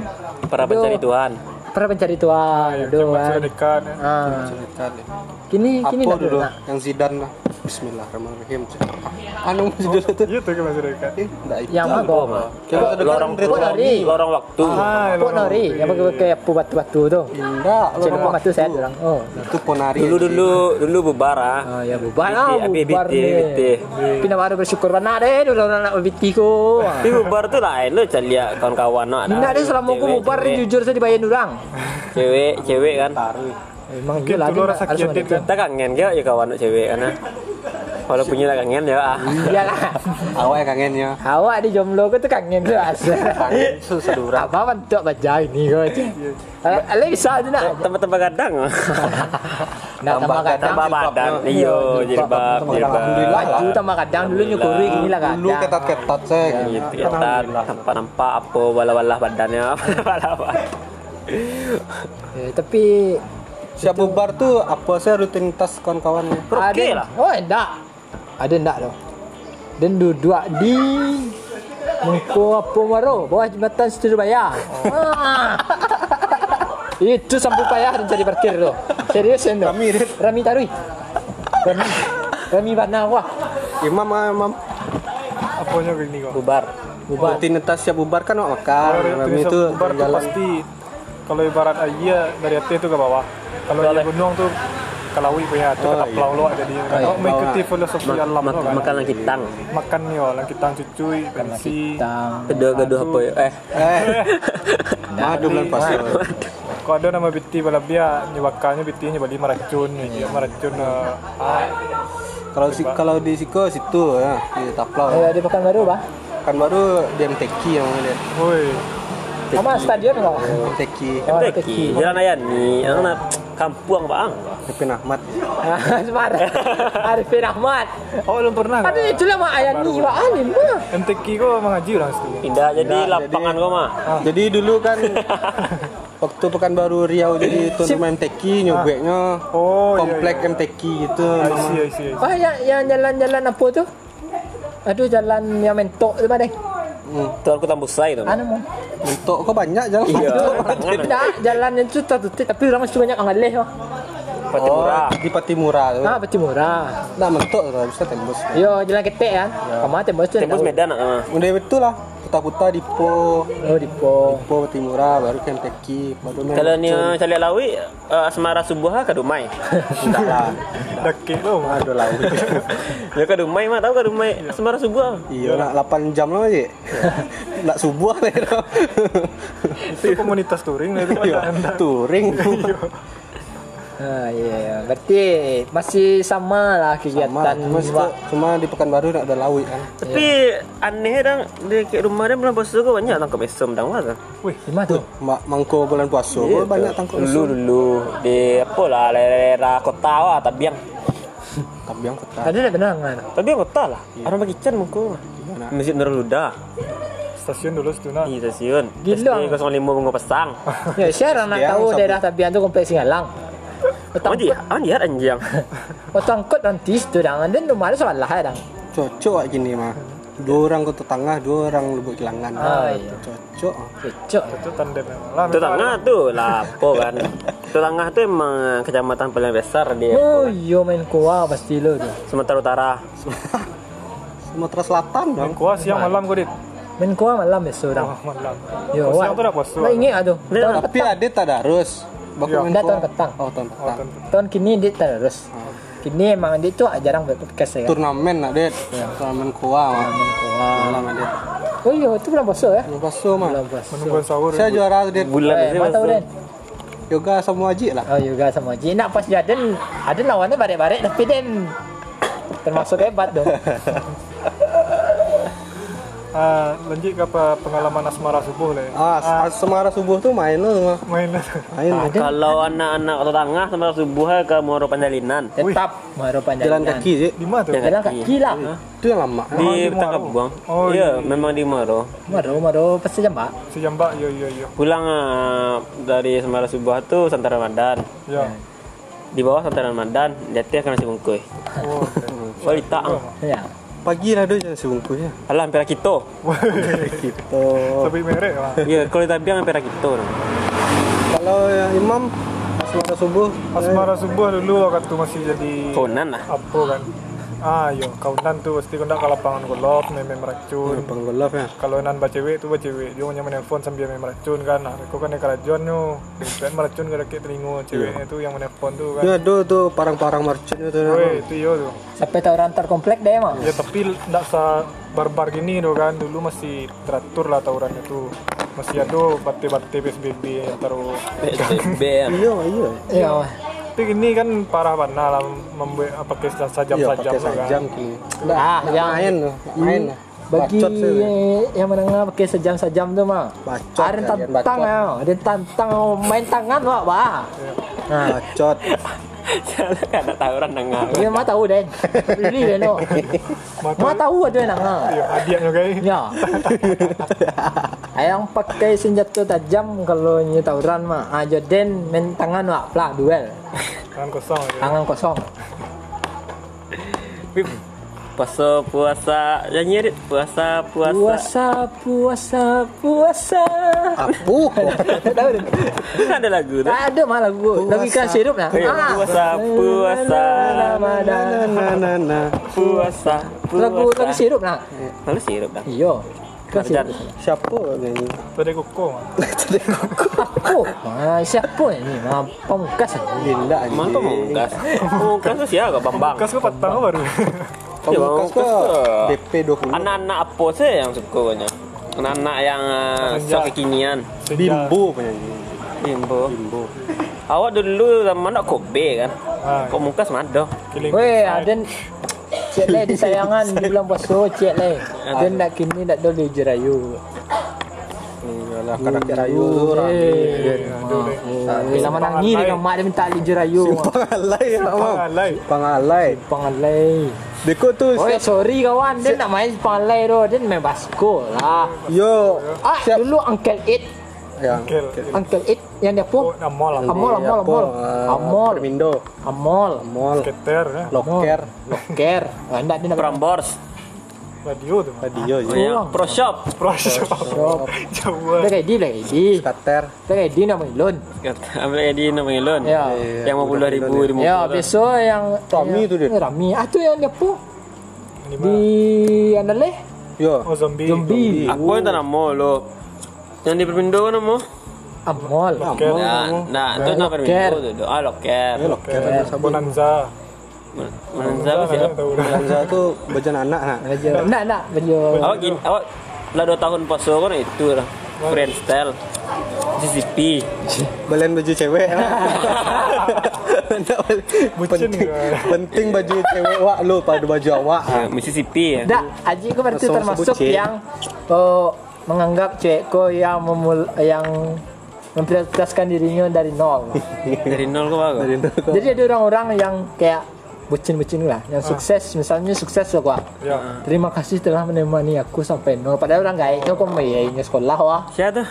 [SPEAKER 3] Para
[SPEAKER 2] ada-
[SPEAKER 3] pencari Tuhan.
[SPEAKER 2] Para pencari tuan. Ada
[SPEAKER 5] eh.
[SPEAKER 4] Masa
[SPEAKER 2] kan.
[SPEAKER 4] dekat. ya.
[SPEAKER 2] Ah.
[SPEAKER 5] Cerita dia.
[SPEAKER 2] Kini kini
[SPEAKER 5] Apa
[SPEAKER 2] dah
[SPEAKER 5] dulu
[SPEAKER 2] nak.
[SPEAKER 5] yang Zidane lah. Bismillahirrahmanirrahim. Anu judul itu.
[SPEAKER 4] Ya tu ke masa dekat.
[SPEAKER 5] Eh, enggak itu.
[SPEAKER 2] Yang apa?
[SPEAKER 3] Apa mah?
[SPEAKER 5] Coba ada
[SPEAKER 3] Lorong
[SPEAKER 5] kan, Red
[SPEAKER 3] lorong-
[SPEAKER 2] Lori.
[SPEAKER 3] lorong waktu.
[SPEAKER 4] Ah,
[SPEAKER 2] Pok
[SPEAKER 4] lorong.
[SPEAKER 2] nori yang pakai pakai apa batu-batu tu.
[SPEAKER 5] Enggak,
[SPEAKER 2] Cek
[SPEAKER 5] lorong
[SPEAKER 2] nama batu saya orang. Oh.
[SPEAKER 5] Itu Ponari.
[SPEAKER 3] Dulu dulu dulu bubar ah.
[SPEAKER 2] Ah ya bubar
[SPEAKER 3] Biti,
[SPEAKER 2] lah
[SPEAKER 3] api
[SPEAKER 2] bubar
[SPEAKER 3] biti, biti.
[SPEAKER 2] ni. Pina baru bersyukur mana deh dulu orang nak biti ku.
[SPEAKER 3] Tapi bubar eh, tu lain lo celia kawan-kawan ah. nak.
[SPEAKER 2] Nak deh selama aku bubar dia jujur saya dibayar orang.
[SPEAKER 3] Cewek cewek kan.
[SPEAKER 2] Memang
[SPEAKER 4] Mungkin
[SPEAKER 2] gila
[SPEAKER 4] dulu rasa
[SPEAKER 2] harus
[SPEAKER 4] kiatin
[SPEAKER 2] ada.
[SPEAKER 4] kan.
[SPEAKER 3] Kita kangen ke ya kawan nak cewek karena. Kalau punya tak kangen ya ah.
[SPEAKER 2] Iyalah.
[SPEAKER 5] Awalnya kangennya.
[SPEAKER 2] Awak di jomblo ke tu kangen tu asal.
[SPEAKER 5] ya? Kangen itu sedurang.
[SPEAKER 2] Apa bentuk baja ini kau tu. Ale bisa tu nak.
[SPEAKER 3] Tempat-tempat gadang. ah.
[SPEAKER 2] Nak tambah kadang.
[SPEAKER 3] Eh, Tambah badan.
[SPEAKER 5] Iya,
[SPEAKER 3] Iyo, jilbab,
[SPEAKER 5] tambah
[SPEAKER 3] jilbab.
[SPEAKER 5] Alhamdulillah lah.
[SPEAKER 2] Baju tambah kadang dulu nyukuri gini lah
[SPEAKER 5] Dulu
[SPEAKER 2] kadang.
[SPEAKER 5] ketat-ketat saya.
[SPEAKER 2] Iya.
[SPEAKER 3] Gitu, ya, tak nampak-nampak apa walah-walah badannya. Walah-walah.
[SPEAKER 2] Eh, Tapi
[SPEAKER 5] Siap bubar tuh apa saya rutinitas ya? kawan-kawannya.
[SPEAKER 3] Okey
[SPEAKER 2] ada,
[SPEAKER 3] lah.
[SPEAKER 2] Oh, enggak. Ada enggak tu. Dan duduk di Mengko apa maro bawah jembatan Surabaya. Ah. Itu sampai payah dan jadi parkir tu. Serius kan tu.
[SPEAKER 5] Rami, Rit.
[SPEAKER 2] Rami Tarui. Rami. Rami Banawa.
[SPEAKER 5] Imam, ah, imam.
[SPEAKER 4] Apanya gini kau.
[SPEAKER 3] Bubar.
[SPEAKER 2] Bubar.
[SPEAKER 5] Rutinitas siap bubar kan wak makan.
[SPEAKER 4] Kalau
[SPEAKER 5] Kami itu
[SPEAKER 4] itu bar tu
[SPEAKER 5] jalan.
[SPEAKER 4] ah, iya, pasti kalau ibarat air dari atas tu ke bawah. Kalau air gunung tu kalawi
[SPEAKER 5] Oh,
[SPEAKER 4] punya tu kata pelau luak jadi
[SPEAKER 2] iya.
[SPEAKER 4] kau mengikuti filosofi alam tu kan
[SPEAKER 3] makanan kitang
[SPEAKER 4] makan ni lah kita cucuy pensi
[SPEAKER 2] Hitam.
[SPEAKER 3] kedua-kedua apa ya eh
[SPEAKER 5] Eh.
[SPEAKER 2] Nah,
[SPEAKER 5] Madu bulan pasal.
[SPEAKER 4] kau ada nama biti bala bia ni bakalnya biti ni bali meracun ni dia meracun eh, ah,
[SPEAKER 5] Kalau si, kalau di Siko situ ya, di Taplau.
[SPEAKER 4] Oh.
[SPEAKER 2] Eh, di Pekan Baru, Pak.
[SPEAKER 5] Kan baru di MTQ yang lihat.
[SPEAKER 4] woi
[SPEAKER 2] Sama stadion enggak?
[SPEAKER 5] MTQ
[SPEAKER 2] Oh,
[SPEAKER 3] Teki, jalan ayat ni, anak kampung bang.
[SPEAKER 5] Ipin Ahmad.
[SPEAKER 2] Semar. Ah, Arifin Ahmad.
[SPEAKER 4] oh belum pernah
[SPEAKER 2] Aduh, itu lah mak ayah ni, Pak Alim mah.
[SPEAKER 4] MTQ kau mengaji lah
[SPEAKER 5] Iya,
[SPEAKER 4] situ
[SPEAKER 3] Pindah jadi lapangan kau mah.
[SPEAKER 4] Ah.
[SPEAKER 5] Jadi dulu kan waktu Pekanbaru Riau jadi tuan rumah MTQ nyobeknya
[SPEAKER 4] Ah. Oh, iya,
[SPEAKER 5] komplek MTQ gitu.
[SPEAKER 4] I see, I see, I see.
[SPEAKER 2] Wah, yang, yang jalan-jalan apa tu? Aduh, jalan yang mentok tu, Pak.
[SPEAKER 3] Tuan aku tambusai tu.
[SPEAKER 2] Anu, mah.
[SPEAKER 5] Untuk kok banyak jalan.
[SPEAKER 3] Iya.
[SPEAKER 2] Tak, jalan itu tak tutup, tapi orang mesti banyak angalih, Pak.
[SPEAKER 5] Oh,
[SPEAKER 3] Patimura.
[SPEAKER 5] di Patimura tuh.
[SPEAKER 2] Ah, peti murah.
[SPEAKER 5] Nah, mentok tuh bisa tembus.
[SPEAKER 2] Yo, jalan ketek kan. Kamu tembus tu.
[SPEAKER 3] Ya. Tembus Medan nak mah.
[SPEAKER 5] Udah betul lah. Kuta-kuta di Po,
[SPEAKER 2] Oh, di po.
[SPEAKER 5] Po Patimura baru ke MTQ, baru main
[SPEAKER 3] Kalau ni cari lawi eh, asmara subuh ke rumai.
[SPEAKER 5] enggak lah.
[SPEAKER 4] Dakik tu.
[SPEAKER 5] Aduh lah.
[SPEAKER 3] Ya ke rumai mah tahu ke rumai asmara subuh. ah.
[SPEAKER 5] Iya, nak 8 jam lah, Cik. Nak subuh lah ya. itu.
[SPEAKER 4] Itu komunitas touring lah itu kan.
[SPEAKER 5] Iya,
[SPEAKER 4] ada anda.
[SPEAKER 5] touring. Iya,
[SPEAKER 2] Ah, ya. Yeah. Berarti masih sama lah kegiatan
[SPEAKER 5] Sama, cuma,
[SPEAKER 2] Wak.
[SPEAKER 5] situ- cuma di Pekanbaru nak ada lawi kan.
[SPEAKER 3] Tapi aneh dang di ke rumah dia belum bosu kau banyak tangkap mesem dang lah. dang.
[SPEAKER 2] Di mana tu?
[SPEAKER 5] Mak mangko bulan puasa,
[SPEAKER 3] Iya,
[SPEAKER 5] yeah, banyak tangkap
[SPEAKER 3] Dulu
[SPEAKER 5] mesum.
[SPEAKER 3] dulu di apa lah daerah kota lah tabiang.
[SPEAKER 5] Tapi yang kota.
[SPEAKER 2] Tadi dah benar
[SPEAKER 5] Ah.
[SPEAKER 2] kan?
[SPEAKER 3] Tabiang kota lah.
[SPEAKER 5] Iya.
[SPEAKER 3] Orang bagi can mungkin. Masjid Nurul Huda.
[SPEAKER 4] Stasiun dulu situ
[SPEAKER 5] Ah.
[SPEAKER 4] nah. nak.
[SPEAKER 5] Iya.
[SPEAKER 3] Di stasiun.
[SPEAKER 2] Gila.
[SPEAKER 3] SD 05 Bungo Pesang.
[SPEAKER 2] Ya, saya orang nak
[SPEAKER 5] Dia
[SPEAKER 2] tahu
[SPEAKER 5] sampai-
[SPEAKER 2] daerah tabian tu kompleks Singalang. Otak
[SPEAKER 3] Anji,
[SPEAKER 2] angkut,
[SPEAKER 3] anji ada anjing.
[SPEAKER 2] otak angkut nanti situ dah. Dan rumah ada sebelah ya dah.
[SPEAKER 5] Cocok lah gini mah. Dua orang ke tetangga, dua orang lubuk kehilangan.
[SPEAKER 2] Ah, iya.
[SPEAKER 5] Cocok.
[SPEAKER 2] Kecok.
[SPEAKER 4] Itu tandem memang lah.
[SPEAKER 3] Itu tengah tu lah apa kan. Itu tengah tu emang kecamatan paling besar
[SPEAKER 5] Ya,
[SPEAKER 3] di
[SPEAKER 2] Oh, yo main kuah pasti lo tu.
[SPEAKER 3] Sumatera Utara.
[SPEAKER 5] Sumatera Selatan dong.
[SPEAKER 4] Kuah siang malam kau dit.
[SPEAKER 2] Main kuah malam besok
[SPEAKER 4] Oh,
[SPEAKER 2] dah.
[SPEAKER 4] malam.
[SPEAKER 2] Yo,
[SPEAKER 4] Kuah siang tu dah puasa.
[SPEAKER 2] Nak ingat aduh.
[SPEAKER 3] Dia
[SPEAKER 2] Tahun
[SPEAKER 5] Tapi
[SPEAKER 2] petang.
[SPEAKER 5] ada tadarus. Baku main
[SPEAKER 4] Iya.
[SPEAKER 2] Dah
[SPEAKER 5] kuah.
[SPEAKER 2] tahun petang.
[SPEAKER 5] Oh, tahun
[SPEAKER 4] Oh,
[SPEAKER 5] petang.
[SPEAKER 4] tan-
[SPEAKER 2] Tahun kini dia terus.
[SPEAKER 4] Ah.
[SPEAKER 2] Kini emang dia tu ah, jarang buat podcast ya. Kan?
[SPEAKER 5] Turnamen lah, Ded. Turnamen kuah mah. Malam ada.
[SPEAKER 2] Oh, yo, itu bulan puasa ya.
[SPEAKER 5] Bulan puasa mah.
[SPEAKER 2] Bulan puasa.
[SPEAKER 4] Menunggu sahur.
[SPEAKER 5] Saya juara Ded.
[SPEAKER 3] Bulan
[SPEAKER 2] Eh,
[SPEAKER 3] ni
[SPEAKER 2] mana tahu
[SPEAKER 3] masuk.
[SPEAKER 2] Dan?
[SPEAKER 5] Yoga sama wajib lah.
[SPEAKER 2] Oh juga sama Ji nak pas Jaden ada lawannya barek-barek tapi Den termasuk hebat dong.
[SPEAKER 4] Ah, lanjut ke apa pengalaman asmara subuh lah. ya.
[SPEAKER 5] Ah, ah, Semarang subuh tuh main loh.
[SPEAKER 4] Main lah.
[SPEAKER 5] Main.
[SPEAKER 3] Kalau anak-anak kota tengah sama subuh ke Muara Panjalinan.
[SPEAKER 2] Tetap
[SPEAKER 5] Jalan
[SPEAKER 2] maru panjangan.
[SPEAKER 5] kaki sih.
[SPEAKER 4] Di mana tu?
[SPEAKER 3] Jangan.
[SPEAKER 2] Jalan kaki lah.
[SPEAKER 5] Itu yang lama.
[SPEAKER 3] Di
[SPEAKER 4] di Muaro?
[SPEAKER 3] tangkap buang.
[SPEAKER 4] Oh,
[SPEAKER 3] ya,
[SPEAKER 4] iya.
[SPEAKER 3] memang di Muaro.
[SPEAKER 2] Maru maru pasti jambak.
[SPEAKER 4] Sejambak yo yo yo.
[SPEAKER 3] Pulang ah, dari Semarang Subuh tu Santar Ramadan.
[SPEAKER 4] Ya.
[SPEAKER 3] Di bawah Santar Ramadan, jatuh ke nasi bungkus.
[SPEAKER 4] Oh.
[SPEAKER 3] Wah, tak. ah.
[SPEAKER 2] Ya.
[SPEAKER 5] Pagi lah deh jangan sebungkusnya.
[SPEAKER 3] Alah, hampir kita.
[SPEAKER 5] Gitu.
[SPEAKER 4] Tapi merek lah.
[SPEAKER 3] Ya, kalau kita bilang hampir gitu. kita.
[SPEAKER 5] Kalau yang imam asmara subuh eh,
[SPEAKER 4] Asmara subuh dulu waktu masih jadi
[SPEAKER 3] Konan lah.
[SPEAKER 4] apa kan. Ah, yo, kaunan tu pasti kau nak ke lapangan golf, main main meracun.
[SPEAKER 5] penggolaf ya.
[SPEAKER 4] kalau nan baca cewek tu baca cewek dia punya menelpon sambil main meracun kan nah, kau kan yang kerajaan tu kan meracun ke dekat telinga ceweknya tu yang menelpon tu kan
[SPEAKER 5] Ya do tuh parang-parang merchant itu.
[SPEAKER 4] Woi, itu yo tu.
[SPEAKER 2] Sampai tawuran terkomplek deh emang.
[SPEAKER 4] Ya tapi tak sa barbar gini tu kan. Dulu masih teratur lah tawurannya tu. Masih ada bate-bate PSBB yang taruh.
[SPEAKER 3] BM.
[SPEAKER 5] Iya, iya.
[SPEAKER 2] Iya. wah.
[SPEAKER 4] Tapi gini kan parah banget lah membuat apa pakai sajam-sajam
[SPEAKER 5] Iya
[SPEAKER 4] tu
[SPEAKER 5] pakai
[SPEAKER 4] kan.
[SPEAKER 5] sajam kini.
[SPEAKER 2] Ah, yang
[SPEAKER 5] Main loh, main lah.
[SPEAKER 2] bagi
[SPEAKER 5] Bacot sih.
[SPEAKER 2] yang menengah pakai sejam-sejam tuh mah.
[SPEAKER 5] Bacot,
[SPEAKER 2] Ada
[SPEAKER 5] kalian
[SPEAKER 2] tantang
[SPEAKER 5] bacot.
[SPEAKER 2] ya, ada tantang main tangan wah bah. Nah,
[SPEAKER 5] Ah, Bacot.
[SPEAKER 3] Salah kan nak tawuran tengah.
[SPEAKER 2] dia mah tahu Den. Really Den. oh. Mah tahu aja nang.
[SPEAKER 4] Ya, hadiahnya guys.
[SPEAKER 2] Ya. Ayang pakai senjata tajam kalau nyi tawuran mah. Ah Jordan main tangan wak pelak duel.
[SPEAKER 4] Tangan kosong ya. aja.
[SPEAKER 2] Tangan kosong.
[SPEAKER 3] Puasa, puasa, nyanyi Adit. puasa, puasa.
[SPEAKER 2] Puasa, puasa, puasa.
[SPEAKER 5] Apu.
[SPEAKER 2] Tak tahu deh.
[SPEAKER 3] Kan ada lagu tu.
[SPEAKER 2] Tak ada malah lagu lagu ikan sirup lah.
[SPEAKER 3] Iya,
[SPEAKER 2] Ah.
[SPEAKER 3] puasa, puasa.
[SPEAKER 5] Na na na na.
[SPEAKER 3] Puasa, puasa.
[SPEAKER 2] Lagu lagu sirup lah. Iya.
[SPEAKER 3] Lagu sirup dah.
[SPEAKER 2] Iyo.
[SPEAKER 3] Kerja.
[SPEAKER 5] siapa nyanyi
[SPEAKER 4] Tadi koko mah.
[SPEAKER 2] Aku. Ah, siapa ini? Ah, pamungkas. ini.
[SPEAKER 5] Dinda anjing
[SPEAKER 3] Mana pemungkas? Pemungkas tuh Oh, siapa bambang?
[SPEAKER 4] Kas kau patah kau baru.
[SPEAKER 2] Iya,
[SPEAKER 5] Pamungkas
[SPEAKER 3] Pamungkas
[SPEAKER 5] kok
[SPEAKER 3] kok.
[SPEAKER 5] DP 20
[SPEAKER 3] Anak-anak apa sih yang suka banyak? Anak-anak yang eh,
[SPEAKER 4] Senja.
[SPEAKER 3] sok kekinian.
[SPEAKER 5] Bimbo penyanyi
[SPEAKER 3] Bimbo. Awak dulu zaman nak kobe kan?
[SPEAKER 4] Ah.
[SPEAKER 3] Pemungkas mado.
[SPEAKER 2] Weh, ada Cik Le disayangan di bulan puasa Cik Le. Ada nak kini nak dulu je rayu.
[SPEAKER 5] Iyalah kanak rayu tuh orang
[SPEAKER 2] Eh. Bila lama nangi dengan mak dia minta ali je rayu.
[SPEAKER 5] Pangalai ya Mam.
[SPEAKER 4] Alai.
[SPEAKER 5] Pangalai
[SPEAKER 2] Pangalai.
[SPEAKER 5] Deko tuh
[SPEAKER 2] Oh,
[SPEAKER 5] siap
[SPEAKER 2] sorry kawan. Dia nak main pangalai tu. Dia main baskol lah.
[SPEAKER 5] Yo Ya,
[SPEAKER 2] Ah,
[SPEAKER 5] Siap
[SPEAKER 2] dulu Uncle It,
[SPEAKER 5] Yang
[SPEAKER 4] Kel.
[SPEAKER 2] Uncle It yang dia pun
[SPEAKER 4] Oh, nama lah.
[SPEAKER 2] Amol,
[SPEAKER 5] Ini apa,
[SPEAKER 2] amol, amol.
[SPEAKER 5] eh,
[SPEAKER 2] Amol.
[SPEAKER 5] Permindo
[SPEAKER 2] Amol,
[SPEAKER 5] Mall
[SPEAKER 4] Keter ya.
[SPEAKER 5] Loker
[SPEAKER 2] Loker. Ah, nak dia nak
[SPEAKER 3] Prambors.
[SPEAKER 4] Radio tu. mah.
[SPEAKER 5] Radio ya
[SPEAKER 3] Ya,
[SPEAKER 2] Kurang.
[SPEAKER 3] Pro Shop.
[SPEAKER 4] Proses
[SPEAKER 2] Shop.
[SPEAKER 4] Jauh.
[SPEAKER 2] Dah kayak dia, dah kayak dia.
[SPEAKER 5] Kater
[SPEAKER 2] Dah kayak dia nama Ilon.
[SPEAKER 3] Kata ambil dia nama Elon.
[SPEAKER 2] Ya.
[SPEAKER 3] Yang mau puluh ribu di
[SPEAKER 2] Ya, besok yang
[SPEAKER 5] lah. Rami
[SPEAKER 2] yang-
[SPEAKER 5] tu dia.
[SPEAKER 2] eh, Rami. Ah tu yang dia pun di Andaleh.
[SPEAKER 5] Yo
[SPEAKER 4] Oh zombie.
[SPEAKER 2] Zombie.
[SPEAKER 3] Aku yang tak nama lo. Yang di Permindo kan nama?
[SPEAKER 2] Amol.
[SPEAKER 4] Loker.
[SPEAKER 3] Nah, nah, itu nak
[SPEAKER 2] Loker.
[SPEAKER 3] Permindo tu. Ah,
[SPEAKER 2] nah.
[SPEAKER 3] loker.
[SPEAKER 5] Ini Loker ada sabun
[SPEAKER 4] Bonanza.
[SPEAKER 3] Menanza apa sih?
[SPEAKER 4] Bonanza tahu dah.
[SPEAKER 5] Lanza tuh bejan anak nah
[SPEAKER 2] Baju. Nak nak baju.
[SPEAKER 3] Awak gini, awak lah dua tahun poso kan itu lah. Freestyle. CCP.
[SPEAKER 5] Belian baju cewek Nak beli-
[SPEAKER 4] Bucin
[SPEAKER 5] Penting
[SPEAKER 4] gua.
[SPEAKER 5] Penting baju cewek wak lu pada baju awak
[SPEAKER 3] Ya, Mississippi ya.
[SPEAKER 2] Dak, Aji kau berarti
[SPEAKER 5] Langsung
[SPEAKER 2] termasuk
[SPEAKER 5] sebut, Cik.
[SPEAKER 2] yang oh, menganggap cewek kau yang memul yang memprioritaskan dirinya dari nol.
[SPEAKER 5] Iya.
[SPEAKER 3] Dari nol ke apa?
[SPEAKER 5] Dari dulu kok.
[SPEAKER 2] Jadi ada orang-orang yang kayak bucin-bucin lah, yang
[SPEAKER 5] Ah.
[SPEAKER 2] sukses misalnya sukses lah gua.
[SPEAKER 4] Ya.
[SPEAKER 2] Terima kasih telah menemani aku sampai nol. Padahal orang gak itu kok mayainya sekolah wah.
[SPEAKER 3] Siapa tuh?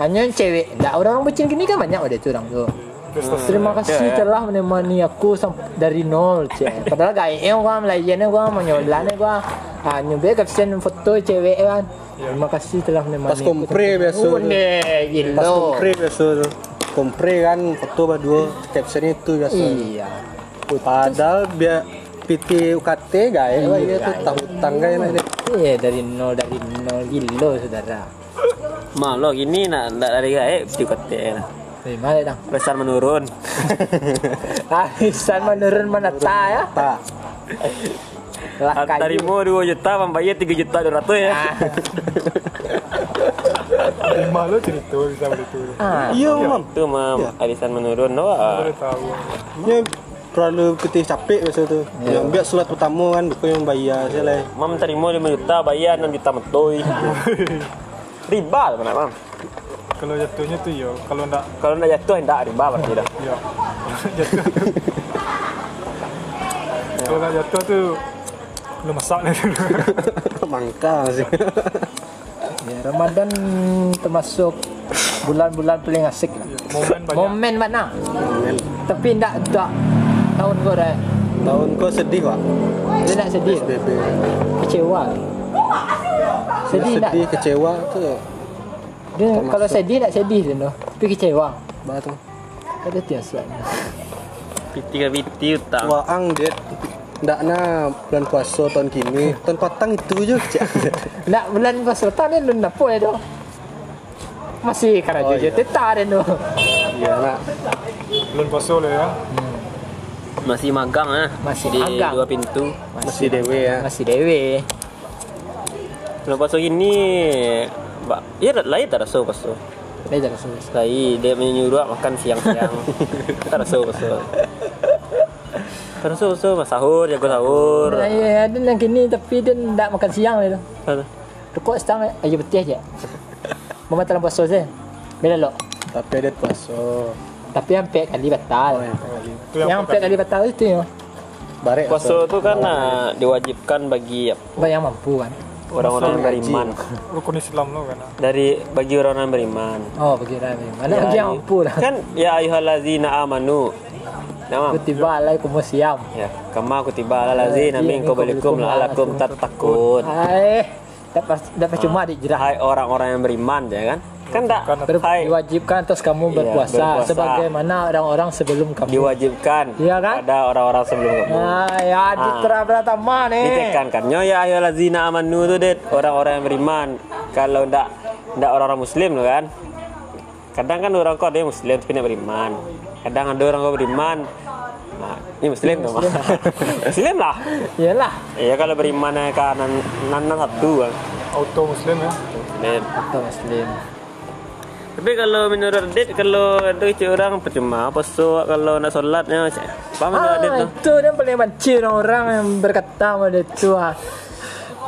[SPEAKER 2] Hanya cewek. Nah, orang-orang bucin gini kan banyak udah itu orang tuh.
[SPEAKER 4] Prestasi.
[SPEAKER 2] Terima kasih telah menemani aku sam- dari nol, cek. Padahal gayanya gua melayannya gua menyolannya gua. Ah, nyubek kapsen foto cewek kan. Terima kasih telah menemani.
[SPEAKER 5] Pas kompre biasa.
[SPEAKER 2] Oh, ne,
[SPEAKER 5] Pas
[SPEAKER 2] gilo.
[SPEAKER 5] kompre biasa tuh Kompre kan foto berdua captionnya itu biasa
[SPEAKER 2] Iya.
[SPEAKER 5] Padahal biar PT UKT gaya lah iya tuh tahu hutang gaya lah dia.
[SPEAKER 2] Iya, Eh, dari nol dari nol gilo, saudara.
[SPEAKER 3] Malo gini nak nak eh? dari gae dikote.
[SPEAKER 2] Dari mana dong?
[SPEAKER 3] Besar menurun.
[SPEAKER 2] Ah, Arisan menurun menata ya.
[SPEAKER 5] Tak.
[SPEAKER 2] Lah Ah, kayu.
[SPEAKER 3] Antarimu 2 juta, pembayar 3 juta 200 ya.
[SPEAKER 4] Malu cerita bisa begitu.
[SPEAKER 2] Ah,
[SPEAKER 5] Iya mam.
[SPEAKER 3] Itu mam arisan menurun doa.
[SPEAKER 4] Baru tahu.
[SPEAKER 5] Ya terlalu PT capek biasa tuh. Yang biar surat pertama kan buku yang bayar saya lah.
[SPEAKER 3] Mam terima 5 juta, bayar 6 juta metoi. riba lah benar mam.
[SPEAKER 4] Kalau jatuhnya tuh yo, kalau enggak
[SPEAKER 3] Kalau nak jatuh hendak riba berarti dah.
[SPEAKER 4] yo. Jatuh. Kalau enggak jatuh tuh lu masak nih dulu.
[SPEAKER 5] Mangka sih.
[SPEAKER 2] ya, Ramadan termasuk bulan-bulan paling asik lah.
[SPEAKER 4] Momen banyak.
[SPEAKER 2] Momen mana? Tapi ndak tak tahun kau dah.
[SPEAKER 5] Tahun kau sedih pak?
[SPEAKER 2] Dia nak sedih,
[SPEAKER 5] SBB.
[SPEAKER 2] kecewa.
[SPEAKER 5] Dia
[SPEAKER 2] Sedih nak.
[SPEAKER 5] sedih kecewa tuh.
[SPEAKER 2] Dia kalau sedih nak sedih dia tu. Tapi kecewa.
[SPEAKER 5] Batu.
[SPEAKER 2] Ada tiasa.
[SPEAKER 3] Piti-piti utang.
[SPEAKER 5] Waang dia. Ndak na bulan puasa tahun kini. Tahun patang itu je. Cak.
[SPEAKER 2] Nak bulan puasa tak ni lu nak pun tu. Masih kerja
[SPEAKER 5] Oh, iya.
[SPEAKER 2] je tetap dia tu.
[SPEAKER 5] Iya nak.
[SPEAKER 4] Belum poso lah ya.
[SPEAKER 3] Masih magang ah.
[SPEAKER 2] Masih
[SPEAKER 3] di
[SPEAKER 2] magang.
[SPEAKER 3] dua pintu.
[SPEAKER 5] Masih dewe ya.
[SPEAKER 2] Masih dewe.
[SPEAKER 3] Lepas tu gini Ba, ya dah lain tak rasa pas tu.
[SPEAKER 2] Dia jangan sulit.
[SPEAKER 3] Lain dia menyuruh awak makan siang-siang. tak rasa pas tu. Tak rasa pas tu, mas sahur, jago sahur.
[SPEAKER 2] Nah, ya, ada yang gini tapi dia tidak makan siang dia tu. Rokok setang aja betih je. Mama dalam puasa je. Bila lo.
[SPEAKER 5] Tapi ada puasa. ya.
[SPEAKER 2] Tapi yang pek kali batal. Oh,
[SPEAKER 4] Itu
[SPEAKER 2] ya. yang
[SPEAKER 4] yang
[SPEAKER 2] pek kali batal itu ya.
[SPEAKER 5] Barek.
[SPEAKER 3] Puasa tu kan ah, diwajibkan bagi
[SPEAKER 2] Bayang mampu kan.
[SPEAKER 3] orang-orang yang
[SPEAKER 5] Gaji.
[SPEAKER 3] beriman.
[SPEAKER 4] rukun Islam lo kan.
[SPEAKER 3] Dari bagi orang yang beriman.
[SPEAKER 2] Oh, bagi ramai. Mana bagi yang mampu lah.
[SPEAKER 3] Kan ya ayyuhallazina amanu. Nama.
[SPEAKER 2] Tiba alai kumu lah, siam.
[SPEAKER 3] Ya, kama aku tiba ala lazina minkum balikum la'alakum tattaqun.
[SPEAKER 2] Hai. Dapat dapat cuma dijerah.
[SPEAKER 3] Hai orang-orang yang beriman ya kan? Kan tak
[SPEAKER 2] Ber-
[SPEAKER 3] hai
[SPEAKER 2] Diwajibkan atas kamu
[SPEAKER 3] Iya,
[SPEAKER 2] berpuasa,
[SPEAKER 3] berpuasa.
[SPEAKER 2] sebagaimana orang-orang sebelum kamu.
[SPEAKER 3] diwajibkan
[SPEAKER 2] Iya kan?
[SPEAKER 3] pada orang-orang sebelum kamu.
[SPEAKER 2] Nah, ya di
[SPEAKER 3] Ah.
[SPEAKER 2] terabra taman eh.
[SPEAKER 3] Ditekankannya ya ayyuhallazina amanu tu det orang-orang yang beriman. kalau ndak ndak orang-orang muslim tu kan kadang kan orang kau dia muslim tapi dia beriman kadang ada orang kau beriman nah, ini muslim tu Mak. muslim lah
[SPEAKER 2] Iyalah.
[SPEAKER 3] ya kalau beriman eh, kanan nana satu kan
[SPEAKER 4] auto muslim ya
[SPEAKER 3] muslim
[SPEAKER 2] Kita muslim.
[SPEAKER 3] tapi kalau menurut Dit kalau ada orang percuma apa so kalau nak solatnya apa menurut
[SPEAKER 2] Ah,
[SPEAKER 3] Dit tu
[SPEAKER 2] itu yang paling benci orang-orang yang berkata pada itu ah.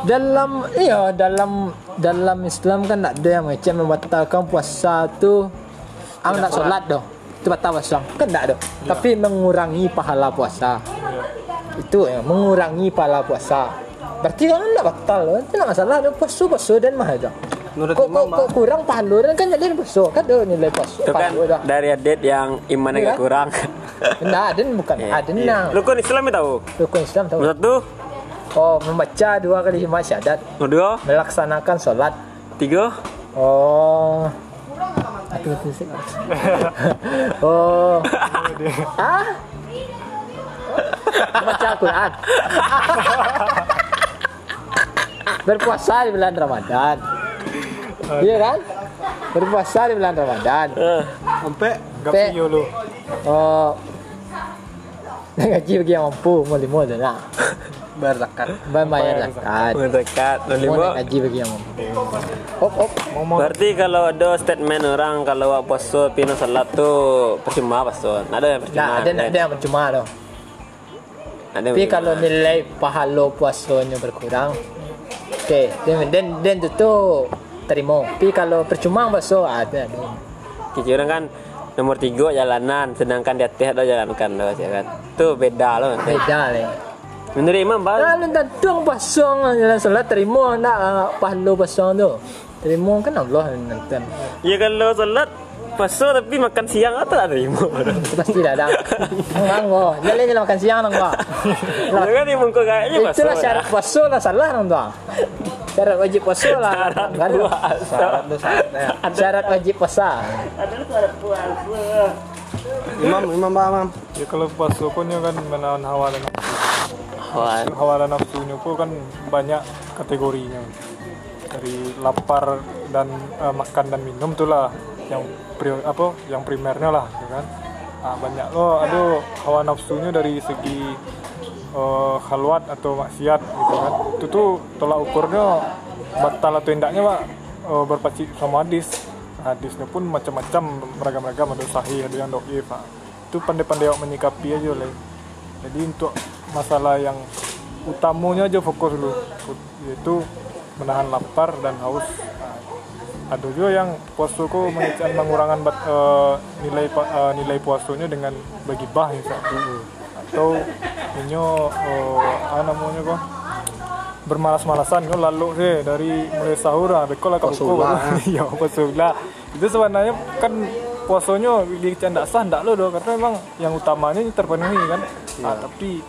[SPEAKER 2] Dalam iya dalam dalam Islam kan tak ada yang macam membatalkan puasa tu ang nak solat doh. Itu batal puasa. Kan tak ada.
[SPEAKER 3] Ya.
[SPEAKER 2] Tapi mengurangi pahala puasa. Itu ya, mengurangi pahala puasa. Berarti kan tak batal kan? Tidak masalah dia puasa puasa dan mah aja.
[SPEAKER 5] Menurut
[SPEAKER 2] Kok, kok,
[SPEAKER 5] Imam,
[SPEAKER 2] kok kurang pahala dan kan jadi puasa. Kan ada nilai puasa.
[SPEAKER 3] ah. itu kan
[SPEAKER 2] pahala dah.
[SPEAKER 3] dari Dit yang imannya
[SPEAKER 2] Iya.
[SPEAKER 3] agak kurang
[SPEAKER 2] Nah, ada bukan. Ada nah.
[SPEAKER 3] Lu kan Islam ni tahu
[SPEAKER 2] Rukun Islam tahu.
[SPEAKER 3] satu
[SPEAKER 2] Oh, membaca dua kali lima syahadat,
[SPEAKER 3] dua
[SPEAKER 2] melaksanakan sholat.
[SPEAKER 3] tiga
[SPEAKER 2] Oh. Aku ngerti sih. oh. ah? Membaca Al-Quran. Berpuasa di bulan Ramadan. Iya kan? Berpuasa di bulan Ramadan.
[SPEAKER 5] sampai
[SPEAKER 2] Pe-
[SPEAKER 4] gapi lu
[SPEAKER 2] Oh. Gaji bagi yang mampu, mau lima dah nak.
[SPEAKER 5] bayar zakat
[SPEAKER 2] Bayar zakat.
[SPEAKER 3] mendekat
[SPEAKER 2] Mau
[SPEAKER 3] lima
[SPEAKER 2] gaji bagi yang mampu. Op, op.
[SPEAKER 3] Berarti kalau ada statement orang kalau awak puasa pina salat tu percuma puasa. Nak ada yang percuma.
[SPEAKER 2] Nah, ada nak ada yang percuma tu.
[SPEAKER 3] Nak ada yang
[SPEAKER 2] Tapi
[SPEAKER 3] percuma.
[SPEAKER 2] kalau nilai pahala puasanya berkurang, okay, then then, then tu tu terima. Tapi kalau percuma puasa ada ada.
[SPEAKER 3] Kecil orang kan nomor tiga jalanan sedangkan di atas ada jalan kan tu ya kan. Tu beda loh.
[SPEAKER 2] Beda le.
[SPEAKER 3] Menurut imam bal.
[SPEAKER 2] Kalau tak dong puasa dengan jalan solat terima nak ah, pahala puasa tu. Terima kan Allah yang menentukan.
[SPEAKER 3] Ya kalau salat puasa tapi makan siang atau tak terima.
[SPEAKER 2] Itu pasti dah ada. Orang kau, jalan jalan makan siang nang kau. Lah,
[SPEAKER 3] Lah kan dia mungkul kayaknya puasa.
[SPEAKER 2] Itulah
[SPEAKER 3] lah.
[SPEAKER 2] syarat puasa lah salah nang tu. ah. Syarat wajib puasa lah.
[SPEAKER 3] Syarat
[SPEAKER 2] Kan tu.
[SPEAKER 3] puasa.
[SPEAKER 5] ya.
[SPEAKER 2] Syarat wajib puasa.
[SPEAKER 5] imam imam pak imam
[SPEAKER 4] ya kalau puasa pun ya kan menahan hawa dan nafsu.
[SPEAKER 3] Wan.
[SPEAKER 4] hawa dan nafsunya pun kan banyak kategorinya dari lapar dan eh, makan dan minum itulah yang pri- apa yang primernya lah ya kan Ah, banyak lo aduh hawa nafsunya dari segi eh, khalwat atau maksiat gitu kan itu tuh tolak ukurnya batal atau tidaknya pak eh, berpacu sama hadis hadisnya pun macam-macam beragam-ragam ada sahih ada yang doif ah. itu pandai-pandai awak menyikapi aja lah jadi untuk masalah yang utamanya aja fokus dulu yaitu menahan lapar dan haus ada juga yang puasa ku mengejar pengurangan bat- eh, nilai pa- eh, nilai puasanya dengan bagi bah misalnya atau inyo eh, apa namanya kok bermalas-malasan kau lalu sih dari mulai sahur ah beko lah kau buku ya puasa lah itu sebenarnya kan puasanya di canda sah ndak lo doh karena memang yang utamanya ini terpenuhi kan
[SPEAKER 5] Iya.
[SPEAKER 4] ah, tapi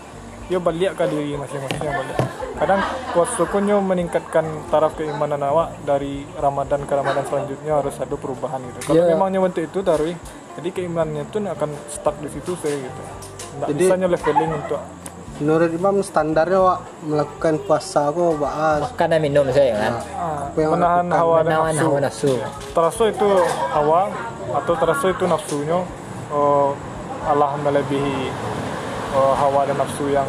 [SPEAKER 4] ya balik ke diri masing-masing yang balik kadang puasa pun yo meningkatkan taraf keimanan awak dari Ramadan ke Ramadan selanjutnya harus ada perubahan gitu kalau
[SPEAKER 5] Iya.
[SPEAKER 2] Ya.
[SPEAKER 4] memangnya bentuk itu dari jadi keimanannya itu akan stuck di situ saya gitu ndak
[SPEAKER 5] Jadi-
[SPEAKER 4] bisa leveling untuk
[SPEAKER 5] menurut imam standarnya wak melakukan puasa aku bahas
[SPEAKER 2] Makan dan minum saya kan.
[SPEAKER 4] ah,
[SPEAKER 5] Apa yang awak
[SPEAKER 4] menahan
[SPEAKER 5] lakukan?
[SPEAKER 4] hawa dan
[SPEAKER 2] Menawan
[SPEAKER 4] nafsu
[SPEAKER 2] hawa nafsu.
[SPEAKER 4] terasa itu hawa atau terasa itu nafsunya eh, Allah melebihi eh, hawa dan nafsu yang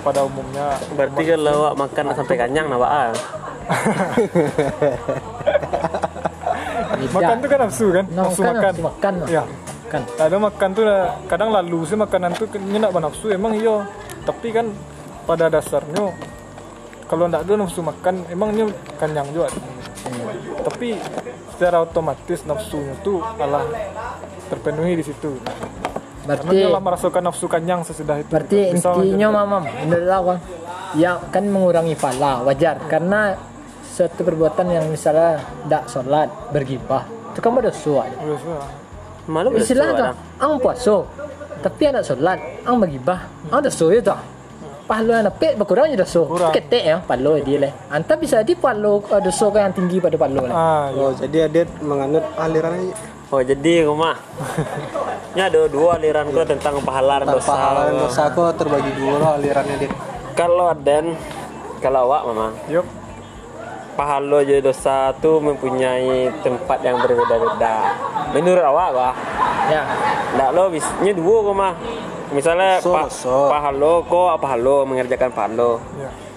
[SPEAKER 4] pada umumnya
[SPEAKER 3] Berarti kalau awak makan nak sampai kenyang nak ah. baal.
[SPEAKER 4] makan itu kan nafsu kan
[SPEAKER 2] Nah,
[SPEAKER 4] nafsu
[SPEAKER 2] kan
[SPEAKER 4] makan
[SPEAKER 2] nafsu makan lah.
[SPEAKER 4] ya
[SPEAKER 2] Kan.
[SPEAKER 4] ada makan tuh kadang lalu sih makanan tuh nyenak nafsu emang iya tapi kan pada dasarnya kalau ndak ada nafsu makan emangnya kenyang juga tapi secara otomatis nafsunya tuh Allah terpenuhi di situ Karena
[SPEAKER 2] Berarti
[SPEAKER 4] dia lah merasakan nafsu kenyang sesudah itu.
[SPEAKER 2] berarti
[SPEAKER 4] Bisa
[SPEAKER 2] intinya
[SPEAKER 4] menjadi-
[SPEAKER 2] mamam menurut awang ya kan mengurangi pahala wajar karena suatu perbuatan yang misalnya tidak sholat bergibah itu kan berdosa aja.
[SPEAKER 4] Iya, iya.
[SPEAKER 3] Malu boleh
[SPEAKER 2] istilah
[SPEAKER 3] suruh
[SPEAKER 2] tu
[SPEAKER 3] orang.
[SPEAKER 2] ang puasa tapi anak sholat ang bergibah ang dosa ya tu pahala anak pek berkurang je dosa
[SPEAKER 4] Kurang.
[SPEAKER 2] ketek ya pahala dia leh anta bisa di pahala uh, dosa kau yang tinggi pada pahala leh
[SPEAKER 4] Ah, iya.
[SPEAKER 5] oh jadi adit menganut aliran ini
[SPEAKER 3] Oh jadi rumah. Ini ada dua aliran kau tentang pahala dan dosa.
[SPEAKER 5] pahala dan dosa aku terbagi dua lah alirannya adit
[SPEAKER 3] ah. Kalau Aden, kalau awak memang
[SPEAKER 4] Yup.
[SPEAKER 3] pahalo jadi dosa tu mempunyai tempat yang berbeda-beda. Menurut awak bah,
[SPEAKER 2] ya
[SPEAKER 3] ndak lo bisnya dua kok mah. Misalnya
[SPEAKER 5] Masuk,
[SPEAKER 3] pa-
[SPEAKER 5] masuk.
[SPEAKER 3] pahalo kok apa halo mengerjakan pahalo.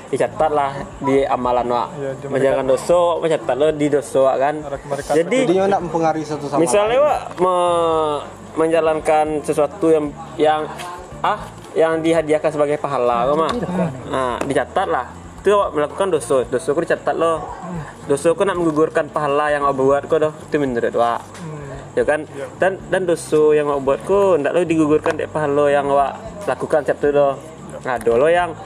[SPEAKER 4] ya
[SPEAKER 3] Dicatatlah di amalan wak.
[SPEAKER 4] Iya, di mereka-
[SPEAKER 3] menjalankan dosa, mencatat lo di dosa wak kan.
[SPEAKER 4] Ada kemerdekaan
[SPEAKER 5] Jadi
[SPEAKER 3] Jadi
[SPEAKER 5] nyo nak mempengaruhi satu sama
[SPEAKER 3] misalnya wak me- menjalankan sesuatu yang yang ah yang dihadiahkan sebagai pahala kok mah. Nah, dicatatlah. Itu awak melakukan dosa. Dosa ku dicatat lo. Dosa ku nak menggugurkan pahala yang awak buat ko doh. Itu menurut awak. Ya kan? Dan dan dosa yang awak buat ku ndak lo digugurkan dek pahala yang awak lakukan setiap tu doh. Nah, do lo yang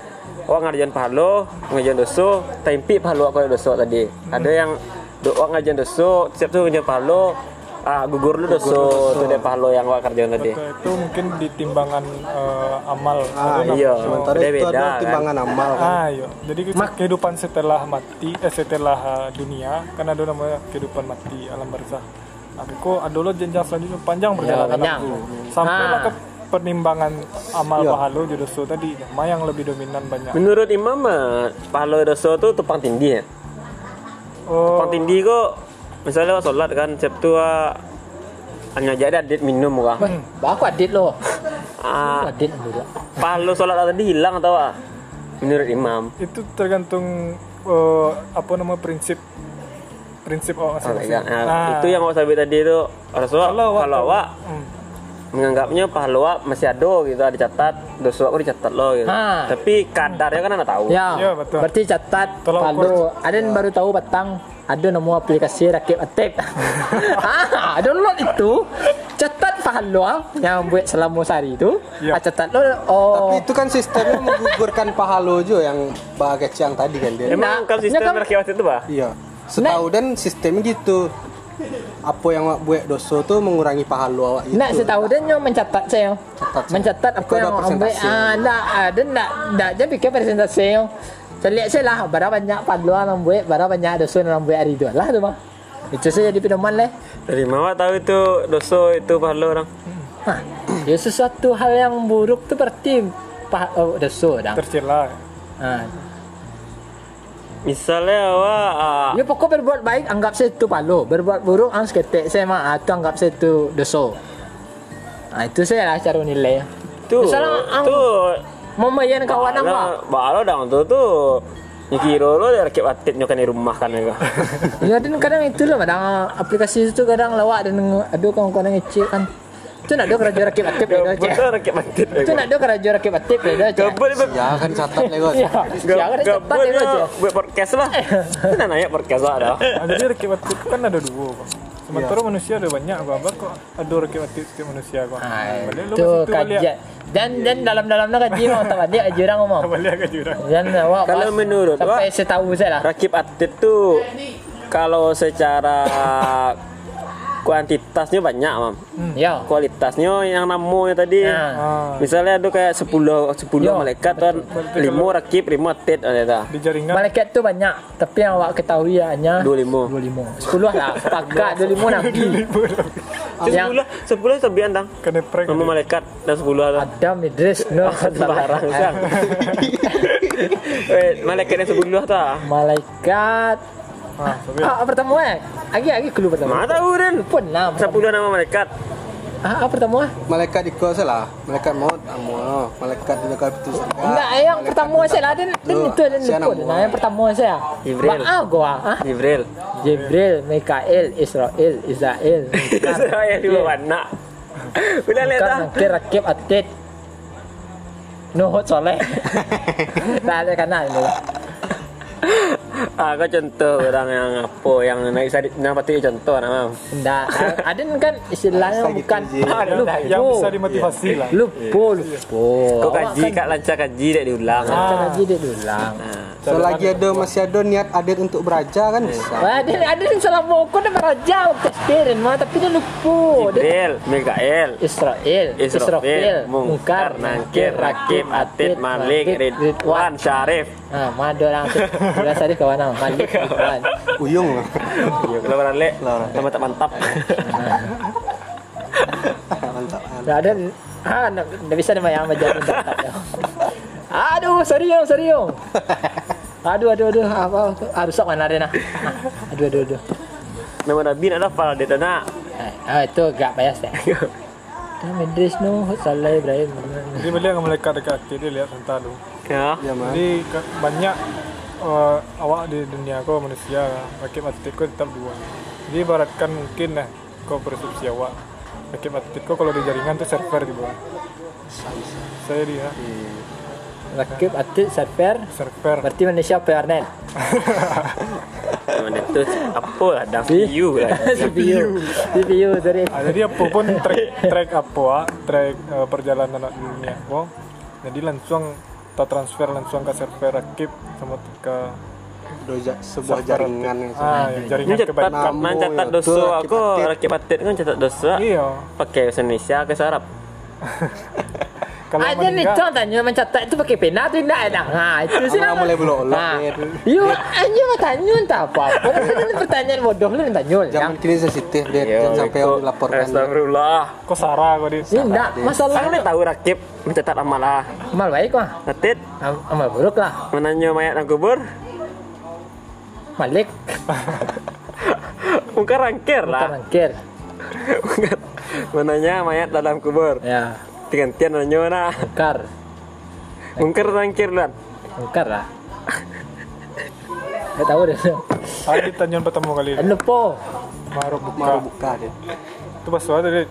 [SPEAKER 3] awak ngerjain pahala, ngerjain dosa, tempi pahala awak kau dosa tadi. Ada yang do awak ngerjain dosa, setiap tu ngerjain pahala, ah gugur lu dosa tu dek pahala yang awak kerjain tadi.
[SPEAKER 4] Betul, itu mungkin di timbangan eh, amal
[SPEAKER 5] Ah,
[SPEAKER 4] Ada
[SPEAKER 3] iya.
[SPEAKER 4] nama-
[SPEAKER 5] Sementara itu
[SPEAKER 3] Beda-beda,
[SPEAKER 5] ada
[SPEAKER 3] kan?
[SPEAKER 5] timbangan amal kan.
[SPEAKER 4] Ah, iya. Jadi ke- kehidupan setelah mati, eh, setelah eh, dunia, kan ada namanya kehidupan mati alam barzah. Tapi kok ada lo jenjang selanjutnya panjang perjalanan
[SPEAKER 2] Ya, panjang.
[SPEAKER 4] aku. Sampailah
[SPEAKER 2] Ah.
[SPEAKER 4] ke penimbangan amal bahalo jodoh tadi, mana yang lebih dominan banyak.
[SPEAKER 3] Menurut Imam, ah, pahala dosa tu tupang tindih ya.
[SPEAKER 4] Oh,
[SPEAKER 3] Tupang tindih kok misalnya awak solat kan, setiap tu ah, hanya jadi adit minum kah.
[SPEAKER 2] Wah, aku adit loh
[SPEAKER 3] Ah,
[SPEAKER 2] adit dulu
[SPEAKER 3] pahala solat tadi hilang atau ah? Menurut Imam.
[SPEAKER 4] itu tergantung eh, apa nama prinsip prinsip oh,
[SPEAKER 3] Oh,
[SPEAKER 4] masing-masing.
[SPEAKER 3] enggak. Nah,
[SPEAKER 4] Ah,
[SPEAKER 3] itu yang awak sabit tadi itu Rasulullah
[SPEAKER 4] Kalau
[SPEAKER 3] kalau,
[SPEAKER 4] awak
[SPEAKER 3] kalau
[SPEAKER 4] tahu-
[SPEAKER 3] awak
[SPEAKER 4] hmm.
[SPEAKER 3] menganggapnya pahala awak masih ada gitu ada catat dosa awak dicatat lo gitu.
[SPEAKER 2] Ah.
[SPEAKER 3] Tapi kadarnya kan anak tahu.
[SPEAKER 2] ya,
[SPEAKER 4] Ya, betul.
[SPEAKER 2] berarti catat
[SPEAKER 4] Tolong
[SPEAKER 2] Paldo ada yang baru tahu batang ada nama aplikasi rakib attack ah download itu catat Paldo ah, yang buat selama sehari itu
[SPEAKER 4] Ya.
[SPEAKER 2] ah, catat lo oh
[SPEAKER 5] Tapi itu kan sistemnya menggugurkan pahalo jo yang Pak Kecang tadi kan dia.
[SPEAKER 3] Emang
[SPEAKER 2] Nah,
[SPEAKER 3] kamu sistem
[SPEAKER 2] ya kan-
[SPEAKER 3] rakyat itu bah?
[SPEAKER 5] Iya. Setahu dan sistemnya gitu. Apa yang awak buat dosa tuh mengurangi pahalo awak gitu.
[SPEAKER 2] Nak setahu dia nyo mencatat saya.
[SPEAKER 5] Catat, saya.
[SPEAKER 2] Mencatat apa
[SPEAKER 5] Ikut
[SPEAKER 2] yang
[SPEAKER 5] dah
[SPEAKER 2] orang ambil.
[SPEAKER 5] presentasi.
[SPEAKER 2] Ah, nak ada nak nak je bikin presentasi yo. Saya lihat saya lah berapa banyak paduan orang buat, berapa banyak dosun orang buat hari tu lah tu mah. Itu saya jadi pedoman leh.
[SPEAKER 3] Dari mana awak tahu itu dosa itu pahala orang?
[SPEAKER 2] Ha. Ya sesuatu hal yang buruk tu berarti pah oh, dosa dah.
[SPEAKER 4] tercela.
[SPEAKER 3] Ah.
[SPEAKER 2] Ha.
[SPEAKER 3] Misalnya awak ah,
[SPEAKER 2] Ya pokok berbuat baik anggap saya tu palu, berbuat buruk ang seketik saya mah ah, tu anggap saya tu dosa. Ha, itu saya lah cara nilai.
[SPEAKER 3] tu
[SPEAKER 2] Misalnya ang
[SPEAKER 3] tu
[SPEAKER 2] memayan kawan apa?
[SPEAKER 3] pahala- Pahala dong tu tu. Kira lo dari rakyat atit nyokan di rumah kan ya.
[SPEAKER 2] Ya dan kadang itu lah kadang aplikasi itu kadang lawak dan aduh kawan-kawan yang ngecek kan. Itu nak dia kerja rakib aktif dia dah cek.
[SPEAKER 3] Betul rakyat atit.
[SPEAKER 2] Itu nak dia kerja rakib aktif dia dah cek.
[SPEAKER 3] Gabut dia
[SPEAKER 5] Ya kan catat lewat.
[SPEAKER 3] Iya.
[SPEAKER 2] Ya, ya kan cepat dia dah
[SPEAKER 3] Gabutnya
[SPEAKER 2] cek.
[SPEAKER 3] buat podcast lah. Mana nanya podcast lah dah.
[SPEAKER 4] Nah, jadi rekib aktif kan ada dua kok. Sementara
[SPEAKER 3] Iya.
[SPEAKER 4] manusia ada banyak kok. Abang kok ada rekib aktif setiap manusia kok.
[SPEAKER 3] iya.
[SPEAKER 2] Ah,
[SPEAKER 4] Balik lu
[SPEAKER 2] Itu
[SPEAKER 4] ke situ, balik. Ya,
[SPEAKER 2] kajian. Dan dan dalam-dalam nak kaji orang tak dia aja orang omong.
[SPEAKER 4] Balik ke jurang.
[SPEAKER 2] Dan awak
[SPEAKER 3] Kalau
[SPEAKER 2] pas-
[SPEAKER 3] menurut
[SPEAKER 2] sampai
[SPEAKER 3] awak-
[SPEAKER 2] saya tahu saya lah.
[SPEAKER 3] Rakib atlet tuh kalau secara kuantitasnya banyak, Mam.
[SPEAKER 2] Ya.
[SPEAKER 3] Kualitasnya yang namanya tadi.
[SPEAKER 2] Nah,
[SPEAKER 4] Ah,
[SPEAKER 3] Misalnya ada kayak 10 10
[SPEAKER 2] Yo,
[SPEAKER 3] malaikat kan 5 rakib, 5 atlet ada tak?
[SPEAKER 4] di jaringan
[SPEAKER 2] malaikat tu banyak tapi yang awak ketahui hanya
[SPEAKER 3] 25.
[SPEAKER 2] 25. 10 lah. Pakat 25 nabi. Yang
[SPEAKER 3] 10 10 serbian tang.
[SPEAKER 4] kena prank.
[SPEAKER 3] Nama malaikat dan 10 ada.
[SPEAKER 2] Adam Idris Nuh
[SPEAKER 3] Barang sang. Wait, Eh, malaikat yang 10 tak?
[SPEAKER 2] Malaikat
[SPEAKER 4] Ah, tapi
[SPEAKER 2] Ah, pertama eh. Lagi lagi clue pertama.
[SPEAKER 3] Mana tahu Ren?
[SPEAKER 2] Pun lah.
[SPEAKER 3] 10
[SPEAKER 2] pertama.
[SPEAKER 3] nama malaikat.
[SPEAKER 2] Ah, ah, pertama eh.
[SPEAKER 5] Malaikat ikut salah. Malaikat maut amo. Malaikat di dekat itu
[SPEAKER 3] Ah.
[SPEAKER 5] surga.
[SPEAKER 2] Enggak, yang pertama saya lah. Dan, dan
[SPEAKER 3] Oh.
[SPEAKER 5] Tuh,
[SPEAKER 2] itu dan
[SPEAKER 5] saya
[SPEAKER 2] itu.
[SPEAKER 5] nak
[SPEAKER 2] Nah, yang pertama saya.
[SPEAKER 3] Jibril.
[SPEAKER 2] Maaf gua. Ah,
[SPEAKER 3] Jibril.
[SPEAKER 2] Jibril, Mikael, Israel, Israel.
[SPEAKER 3] Saya di bawah nak. Bila lihat
[SPEAKER 2] Kan
[SPEAKER 3] dah.
[SPEAKER 2] nanti rakib atit. Nuhut soleh. Tak ada kenal ini lah.
[SPEAKER 3] Ah, kau contoh orang yang apa yang naik bisa nak patut contoh nak mam.
[SPEAKER 2] Enggak. Ada kan istilahnya
[SPEAKER 5] Bisa gitu
[SPEAKER 2] bukan.
[SPEAKER 5] je.
[SPEAKER 2] Ah, lupa.
[SPEAKER 4] yang bisa dimotivasi
[SPEAKER 3] Iya.
[SPEAKER 4] lah.
[SPEAKER 2] Lupa, lupa.
[SPEAKER 3] Kau
[SPEAKER 2] Awak
[SPEAKER 3] kaji kat lancar kaji dak diulang.
[SPEAKER 2] kan- Kan kaji dia dulang.
[SPEAKER 5] Selagi ada masih ada niat adil untuk beraja kan
[SPEAKER 3] Iya.
[SPEAKER 5] bisa.
[SPEAKER 2] Wah, ada ada yang salah boko dia beraja waktu spirin mah tapi dia
[SPEAKER 3] Oh,
[SPEAKER 2] lupa. Dia
[SPEAKER 3] Jibril, Mikael,
[SPEAKER 2] Israel,
[SPEAKER 3] Israfil, Mungkar, Nangkir, Rakib, Atid, Malik, Ridwan, Syarif.
[SPEAKER 2] Ah, madu orang tu. Bila tadi kawan ah, Malik, Ridwan.
[SPEAKER 5] Uyung.
[SPEAKER 3] Ya, kalau orang lek,
[SPEAKER 5] Lah,
[SPEAKER 3] tambah tak mantap.
[SPEAKER 5] Mantap.
[SPEAKER 2] Dah ada ah, nak dah bisa dia main yang macam tu. Aduh, sorry yo, sorry yo. Aduh aduh aduh apa ah, rusak mana Rena? Ah, Aduh aduh aduh.
[SPEAKER 3] Memang ada bin ada fal dia tanah.
[SPEAKER 2] Ah, Ah, itu gak payah saya. Nah, Mendes no, salah Ibrahim.
[SPEAKER 4] Jadi beliau akan melekat dekat kaki dia lihat entah tu.
[SPEAKER 3] Ya.
[SPEAKER 5] Ya, mah.
[SPEAKER 4] Jadi ke- banyak uh, awak di dunia kau manusia, rakib atlet kau tetap dua. Jadi ibaratkan mungkin lah kau persepsi awak. Rakib atlet kau kalau di jaringan tu server di bawah. Saya dia
[SPEAKER 2] Rakib atit server.
[SPEAKER 4] server.
[SPEAKER 2] Berarti Malaysia PRNet.
[SPEAKER 3] Mana tu apa lah dah view lah.
[SPEAKER 2] CPU. CPU dari
[SPEAKER 4] Ah, jadi apa pun track track apa ah, track uh, perjalanan anak dunia kau. Jadi langsung tak transfer langsung ke server rakib sama ke
[SPEAKER 5] Doja, sebuah
[SPEAKER 4] server
[SPEAKER 5] jaringan gitu. yang
[SPEAKER 4] rakib. ah, ya,
[SPEAKER 3] Ini
[SPEAKER 4] jaringan
[SPEAKER 3] cepat
[SPEAKER 4] kebaikan.
[SPEAKER 5] Kamu,
[SPEAKER 3] mencatat
[SPEAKER 5] ya, tu
[SPEAKER 3] dosa
[SPEAKER 5] rakyat
[SPEAKER 3] aku
[SPEAKER 5] atit.
[SPEAKER 3] rakyat atit kan catat dosa.
[SPEAKER 4] Iya.
[SPEAKER 3] Pakai bahasa Indonesia ke bahasa Arab.
[SPEAKER 4] Kalau
[SPEAKER 2] Ada nih
[SPEAKER 4] meninggal-
[SPEAKER 2] contoh Ah, tanya mencatat itu pakai pena tuh enggak enak. Nah, itu sih.
[SPEAKER 5] Abang mulai belok-belok,
[SPEAKER 2] Nah,
[SPEAKER 5] Mir.
[SPEAKER 2] Yo, anjing mah tanya entah apa. Ini pertanyaan bodoh lu tanya. Ya.
[SPEAKER 5] Jangan kini sensitif deh, Iya, jangan sampai
[SPEAKER 3] itu-
[SPEAKER 5] dilaporkan.
[SPEAKER 3] Astagfirullah.
[SPEAKER 4] Kok Sarah kok di
[SPEAKER 2] Ini enggak masalah.
[SPEAKER 3] Aku ni tahu rakib mencatat amalah.
[SPEAKER 2] Amal baik mah,
[SPEAKER 3] Atit
[SPEAKER 2] am- amal buruk lah.
[SPEAKER 3] menanya mayat dan kubur.
[SPEAKER 2] Malik
[SPEAKER 3] Muka rangkir lah.
[SPEAKER 2] terangkir.
[SPEAKER 3] menanya mayat dalam kubur.
[SPEAKER 2] Ya,
[SPEAKER 3] Gantian nanya nah.
[SPEAKER 2] mungkar.
[SPEAKER 3] Mungkin rangkir lah.
[SPEAKER 2] Mungkar lah. Gak tahu deh.
[SPEAKER 4] Hari tanjuan pertama kali
[SPEAKER 2] Anu po.
[SPEAKER 4] Maruk buka
[SPEAKER 5] Mau buka deh.
[SPEAKER 4] Itu pas suara tadi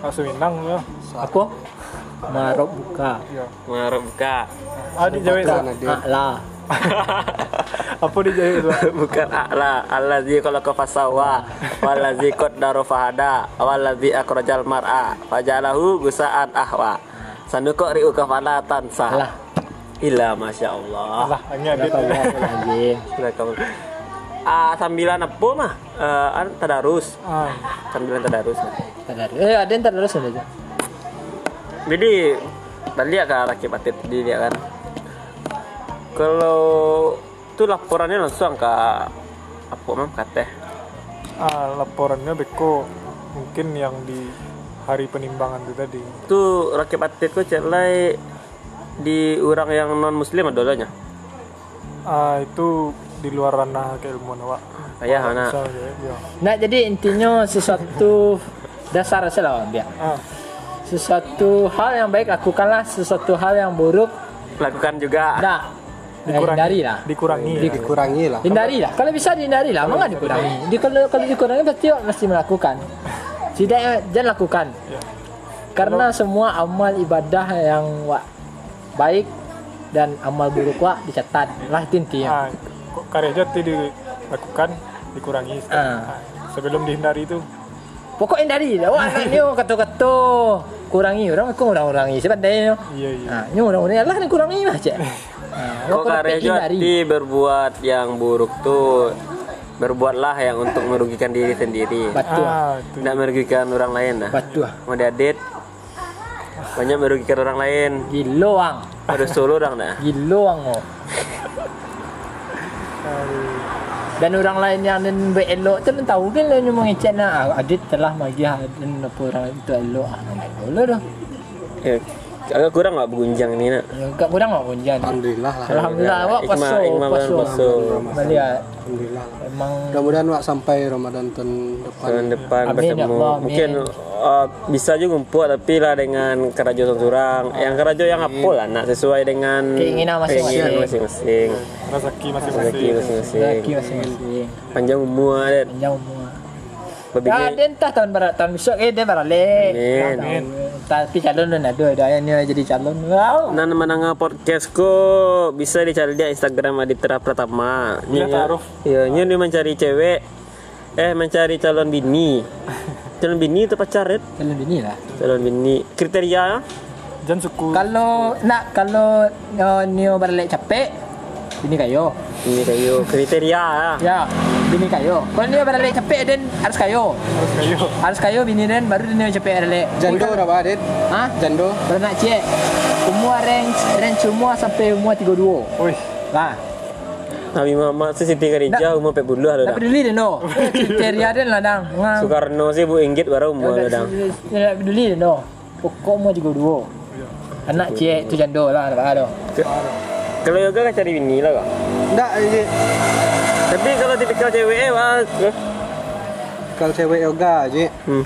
[SPEAKER 4] Langsung minang ya
[SPEAKER 2] Aku marok buka.
[SPEAKER 4] Iya
[SPEAKER 3] Marah buka.
[SPEAKER 4] Ah di Jawa itu
[SPEAKER 5] Karena dia
[SPEAKER 2] Ah lah.
[SPEAKER 4] Apa di Jawa itu
[SPEAKER 3] Bukan a'la Allazi khalaqa fasawa Wallazi qaddara fahada Wallazi akrajal mar'a Fajalahu gusa'an ahwa Sanduqa ri'u kafala tansa
[SPEAKER 2] Lah.
[SPEAKER 3] Ila Masya Allah
[SPEAKER 4] Lah hanya di
[SPEAKER 2] Anjing.
[SPEAKER 3] Sudah kamu Ah, sambilan apa mah? Eh, an tadarus.
[SPEAKER 4] Ah
[SPEAKER 3] Sambilan tadarus.
[SPEAKER 2] Tadar. Eh, ada yang terus aja.
[SPEAKER 3] Jadi tadi agak rakib atit di dia kan. Kalau itu laporannya langsung ke apa mam kateh.
[SPEAKER 4] Ah laporannya Beko Mungkin yang di hari penimbangan itu tadi
[SPEAKER 3] itu rakyat atit kok celai di orang yang non muslim adolanya
[SPEAKER 4] Ah itu di luar ranah keilmuan awak
[SPEAKER 3] ayah anak
[SPEAKER 4] Bisa ya Iya
[SPEAKER 2] Nah, jadi intinya sesuatu dasar saja lah dia.
[SPEAKER 4] Ah
[SPEAKER 2] Sesuatu hal yang baik lakukanlah, sesuatu hal yang buruk
[SPEAKER 3] lakukan juga
[SPEAKER 2] nah hindari lah.
[SPEAKER 4] Dikurangi
[SPEAKER 5] Iya.
[SPEAKER 4] ya.
[SPEAKER 5] dikurangi lah.
[SPEAKER 2] Hindari lah. Kalau bisa dihindari lah, mengapa dikurangi? Di, kalau kalau dikurangi berarti awak mesti melakukan. Tidak eh, jangan lakukan.
[SPEAKER 4] Ya.
[SPEAKER 2] Karena semua amal ibadah yang wak baik dan amal buruk wak dicatat lah itu intinya.
[SPEAKER 4] Ah kok karya jati dilakukan Dikurangi
[SPEAKER 2] Ah.
[SPEAKER 4] Ah, Sebelum dihindari itu
[SPEAKER 2] Pokok hindari lah. Wak nak ni kata-kata kurangi orang aku kurang-kurangi sebab
[SPEAKER 4] Iya iya
[SPEAKER 2] Ah, ni orang-orang lah ni kurangi lah cek.
[SPEAKER 3] kok karya jadi berbuat yang buruk tuh berbuatlah yang untuk merugikan diri sendiri
[SPEAKER 2] Batu. ah.
[SPEAKER 4] Ah itu
[SPEAKER 3] tidak merugikan orang lain nah
[SPEAKER 2] Batu. ah.
[SPEAKER 3] mau diadit banyak merugikan orang lain
[SPEAKER 2] Gilo ang.
[SPEAKER 3] harus solo orang nah
[SPEAKER 2] Gilo ang oh. Dan orang lain yang dan baik elok tu lu tahu kan lu yang mengecek nak ah, Adit telah bagi hadan apa orang itu elok ah nak baik elok dah.
[SPEAKER 3] ya, agak kurang nggak bergunjang ini nah? nak
[SPEAKER 2] Enggak kurang apa pun jangan.
[SPEAKER 5] Alhamdulillah lah.
[SPEAKER 2] Alhamdulillah awak
[SPEAKER 3] Ikma-
[SPEAKER 2] paso
[SPEAKER 3] Ikma bulan
[SPEAKER 2] paso.
[SPEAKER 3] paso.
[SPEAKER 2] Balik ah.
[SPEAKER 5] Alhamdulillah lah.
[SPEAKER 2] emang
[SPEAKER 5] Mudah-mudahan Wak sampai Ramadan tahun depan.
[SPEAKER 3] tahun depan
[SPEAKER 2] Amin, ya
[SPEAKER 3] bertemu
[SPEAKER 2] Allah, amin.
[SPEAKER 3] mungkin uh, bisa juga ngumpul tapi lah dengan kerajaan orang yang kerajaan yang apa lah nak sesuai dengan
[SPEAKER 2] Ah. Keinginan masing-masing.
[SPEAKER 3] keinginan masing-masing
[SPEAKER 4] Rezeki
[SPEAKER 3] rezeki
[SPEAKER 4] masing-masing
[SPEAKER 3] masing-masing
[SPEAKER 2] lagi masing-masing.
[SPEAKER 3] panjang umur adet
[SPEAKER 2] Panjang umur. Ah,
[SPEAKER 3] berbini
[SPEAKER 2] dia entah tahun barat tahun besok eh dia baralik.
[SPEAKER 3] Amin.
[SPEAKER 2] Amin. Tapi calon dan ada ada yang ni jadi calon. Wow.
[SPEAKER 3] Nan menengah podcast ko bisa dicari di Instagram Aditya Pratama.
[SPEAKER 4] Iya, taruh.
[SPEAKER 3] Ya, nyu ni mencari cewek. Eh, mencari calon bini. calon bini itu pacar, Red?
[SPEAKER 2] Calon bini lah.
[SPEAKER 3] Calon bini. Kriteria?
[SPEAKER 4] Jangan suku
[SPEAKER 2] Kalau nak kalau uh, neo balik capek bini kayo.
[SPEAKER 3] Ini kayu kriteria. ya.
[SPEAKER 2] Ya, bini kayo. Kalau neo balik capek dan harus kayo.
[SPEAKER 4] Terus kayu
[SPEAKER 2] Harus kayo bini dan baru dia neo capek balik.
[SPEAKER 5] Jando berapa Adit?
[SPEAKER 2] Hah?
[SPEAKER 5] Jando?
[SPEAKER 2] Baru nak cek umur range range umur sampai umur 32.
[SPEAKER 4] Wih
[SPEAKER 2] Lah,
[SPEAKER 3] Nabi Muhammad tu Siti Khadijah umur 40 lah
[SPEAKER 2] tak
[SPEAKER 3] dah.
[SPEAKER 2] peduli dia no. Kriteria dia lah dang. Ngam.
[SPEAKER 3] Soekarno sih Bu Inggit baru umur
[SPEAKER 2] Tidak
[SPEAKER 3] dah. dah.
[SPEAKER 2] tidak peduli no. Pokok umur 32. Anak cik tu jando lah nak ada.
[SPEAKER 3] Kalau yoga kan cari bini lah kok.
[SPEAKER 5] Enggak, ini
[SPEAKER 3] Tapi kalau tipikal cewek eh wah. eh.
[SPEAKER 5] kalau cewek yoga aja
[SPEAKER 3] Hmm.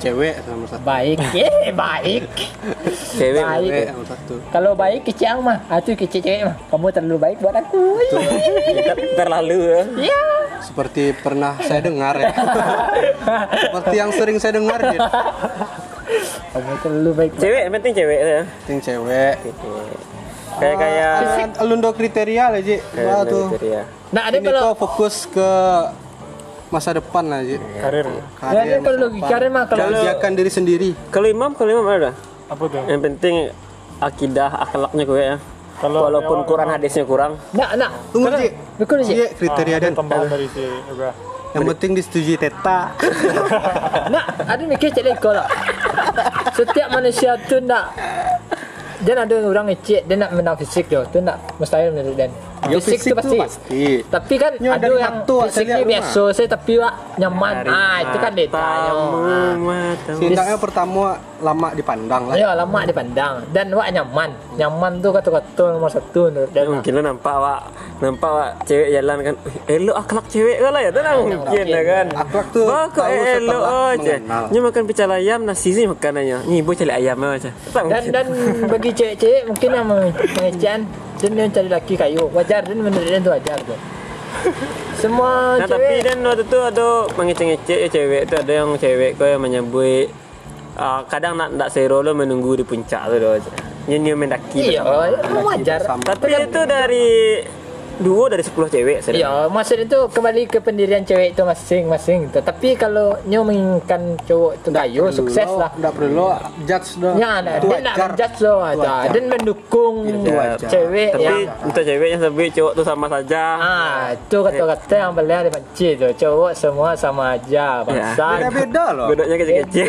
[SPEAKER 5] cewek sama satu
[SPEAKER 2] baik eh baik
[SPEAKER 3] Cewek.
[SPEAKER 2] Baik.
[SPEAKER 5] cewek sama satu
[SPEAKER 2] kalau baik kecil mah atuh kecil cewek mah kamu terlalu baik buat aku
[SPEAKER 3] Kita terlalu ya.
[SPEAKER 2] ya
[SPEAKER 5] seperti pernah saya dengar ya seperti yang sering saya dengar Jin.
[SPEAKER 2] kamu terlalu baik buat-
[SPEAKER 3] Cewek yang penting cewek ya.
[SPEAKER 5] Ting cewek
[SPEAKER 3] Kayak
[SPEAKER 2] Oh.
[SPEAKER 3] kayak
[SPEAKER 5] Ah, Lundo kriteria lah Ji
[SPEAKER 3] kayak
[SPEAKER 5] Wah tuh
[SPEAKER 3] militer ya.
[SPEAKER 2] nah ada
[SPEAKER 5] Ini
[SPEAKER 2] kalau
[SPEAKER 5] tuh fokus ke masa depan lah Ji
[SPEAKER 4] karir
[SPEAKER 2] Ya, ini kalau
[SPEAKER 5] masa
[SPEAKER 2] logika
[SPEAKER 5] depan.
[SPEAKER 2] mah kalau
[SPEAKER 5] Bahagiakan diri sendiri
[SPEAKER 3] Kalau imam kalau imam ada.
[SPEAKER 4] apa tuh
[SPEAKER 3] Yang penting akidah akhlaknya gue ya.
[SPEAKER 4] Kalau-
[SPEAKER 3] Walaupun Quran hadisnya kurang.
[SPEAKER 2] nak nak
[SPEAKER 5] Tunggu Ji
[SPEAKER 2] betul
[SPEAKER 5] Ji
[SPEAKER 2] sih
[SPEAKER 5] kriteria
[SPEAKER 4] ada
[SPEAKER 5] dan
[SPEAKER 4] tambahan Ah, dari si yoga
[SPEAKER 5] Yang penting disetujui Teta
[SPEAKER 2] nak ada mikir cek leko lah setiap manusia tu nak dia ada orang ngecek dia nak menang fisik dia tu nak mustahil menurut dia
[SPEAKER 5] Ya, fisik tu pasti.
[SPEAKER 2] tapi kan
[SPEAKER 5] Nyo,
[SPEAKER 2] ada
[SPEAKER 5] dari
[SPEAKER 2] yang
[SPEAKER 5] waktu awak saya
[SPEAKER 2] fisiknya
[SPEAKER 5] lihat
[SPEAKER 2] biasa saya tapi wak nyaman ah itu kan detail Ah.
[SPEAKER 3] Iya.
[SPEAKER 5] Sintangnya pertama lama dipandang lah
[SPEAKER 2] Ya lama dipandang dan wak nyaman. Nyaman tu kata-kata nomor satu menurut dia.
[SPEAKER 5] Ya.
[SPEAKER 3] Dan mungkin lo nampak wak nampak wak cewek jalan kan "Eh, elok akhlak cewek ke lah ya itu mungkin ya kan
[SPEAKER 5] Akhlak tuh
[SPEAKER 3] wah kok
[SPEAKER 5] tahu
[SPEAKER 3] eh, elok
[SPEAKER 5] setelah
[SPEAKER 3] aja
[SPEAKER 5] mengenal.
[SPEAKER 3] ni makan pical ayam nasi sih makanannya ni bu cari ayam aja
[SPEAKER 2] Dan
[SPEAKER 3] tak mungkin
[SPEAKER 2] dan bagi cewek-cewek mungkin yang mengecehan dan dia cari laki kayu. Wajar dan menurut dia tu wajar tu. Semua
[SPEAKER 3] nah
[SPEAKER 2] cewek
[SPEAKER 3] tapi dan waktu itu ada mengecek-ngecek ya cewek itu ada yang cewek kau yang menyambut ah, kadang nak tak sero lo menunggu di puncak tu doh aja nyanyi mendaki
[SPEAKER 2] Iya, emang wajar.
[SPEAKER 3] tapi itu dari dua dari sepuluh cewek saya
[SPEAKER 2] Iya, maksud itu kembali ke pendirian cewek itu masing-masing. Tetapi kalau nyu menginginkan cowok itu kayu sukses lah.
[SPEAKER 5] Tidak perlu lo judge dong
[SPEAKER 2] Ya, nah,
[SPEAKER 5] Itu
[SPEAKER 2] dia
[SPEAKER 5] Iya,
[SPEAKER 2] nak
[SPEAKER 5] wajar.
[SPEAKER 2] menjudge lo
[SPEAKER 5] Itu
[SPEAKER 2] aja
[SPEAKER 5] wajar.
[SPEAKER 2] dan mendukung
[SPEAKER 5] wajar.
[SPEAKER 2] cewek
[SPEAKER 3] tapi
[SPEAKER 2] yang
[SPEAKER 3] untuk cewek yang sebut cowok tu sama saja
[SPEAKER 2] Ah, itu kata-kata yang boleh ada benci tu. Cowok semua sama aja bangsa.
[SPEAKER 5] Beda-beda loh
[SPEAKER 3] Godoknya kecil-kecil.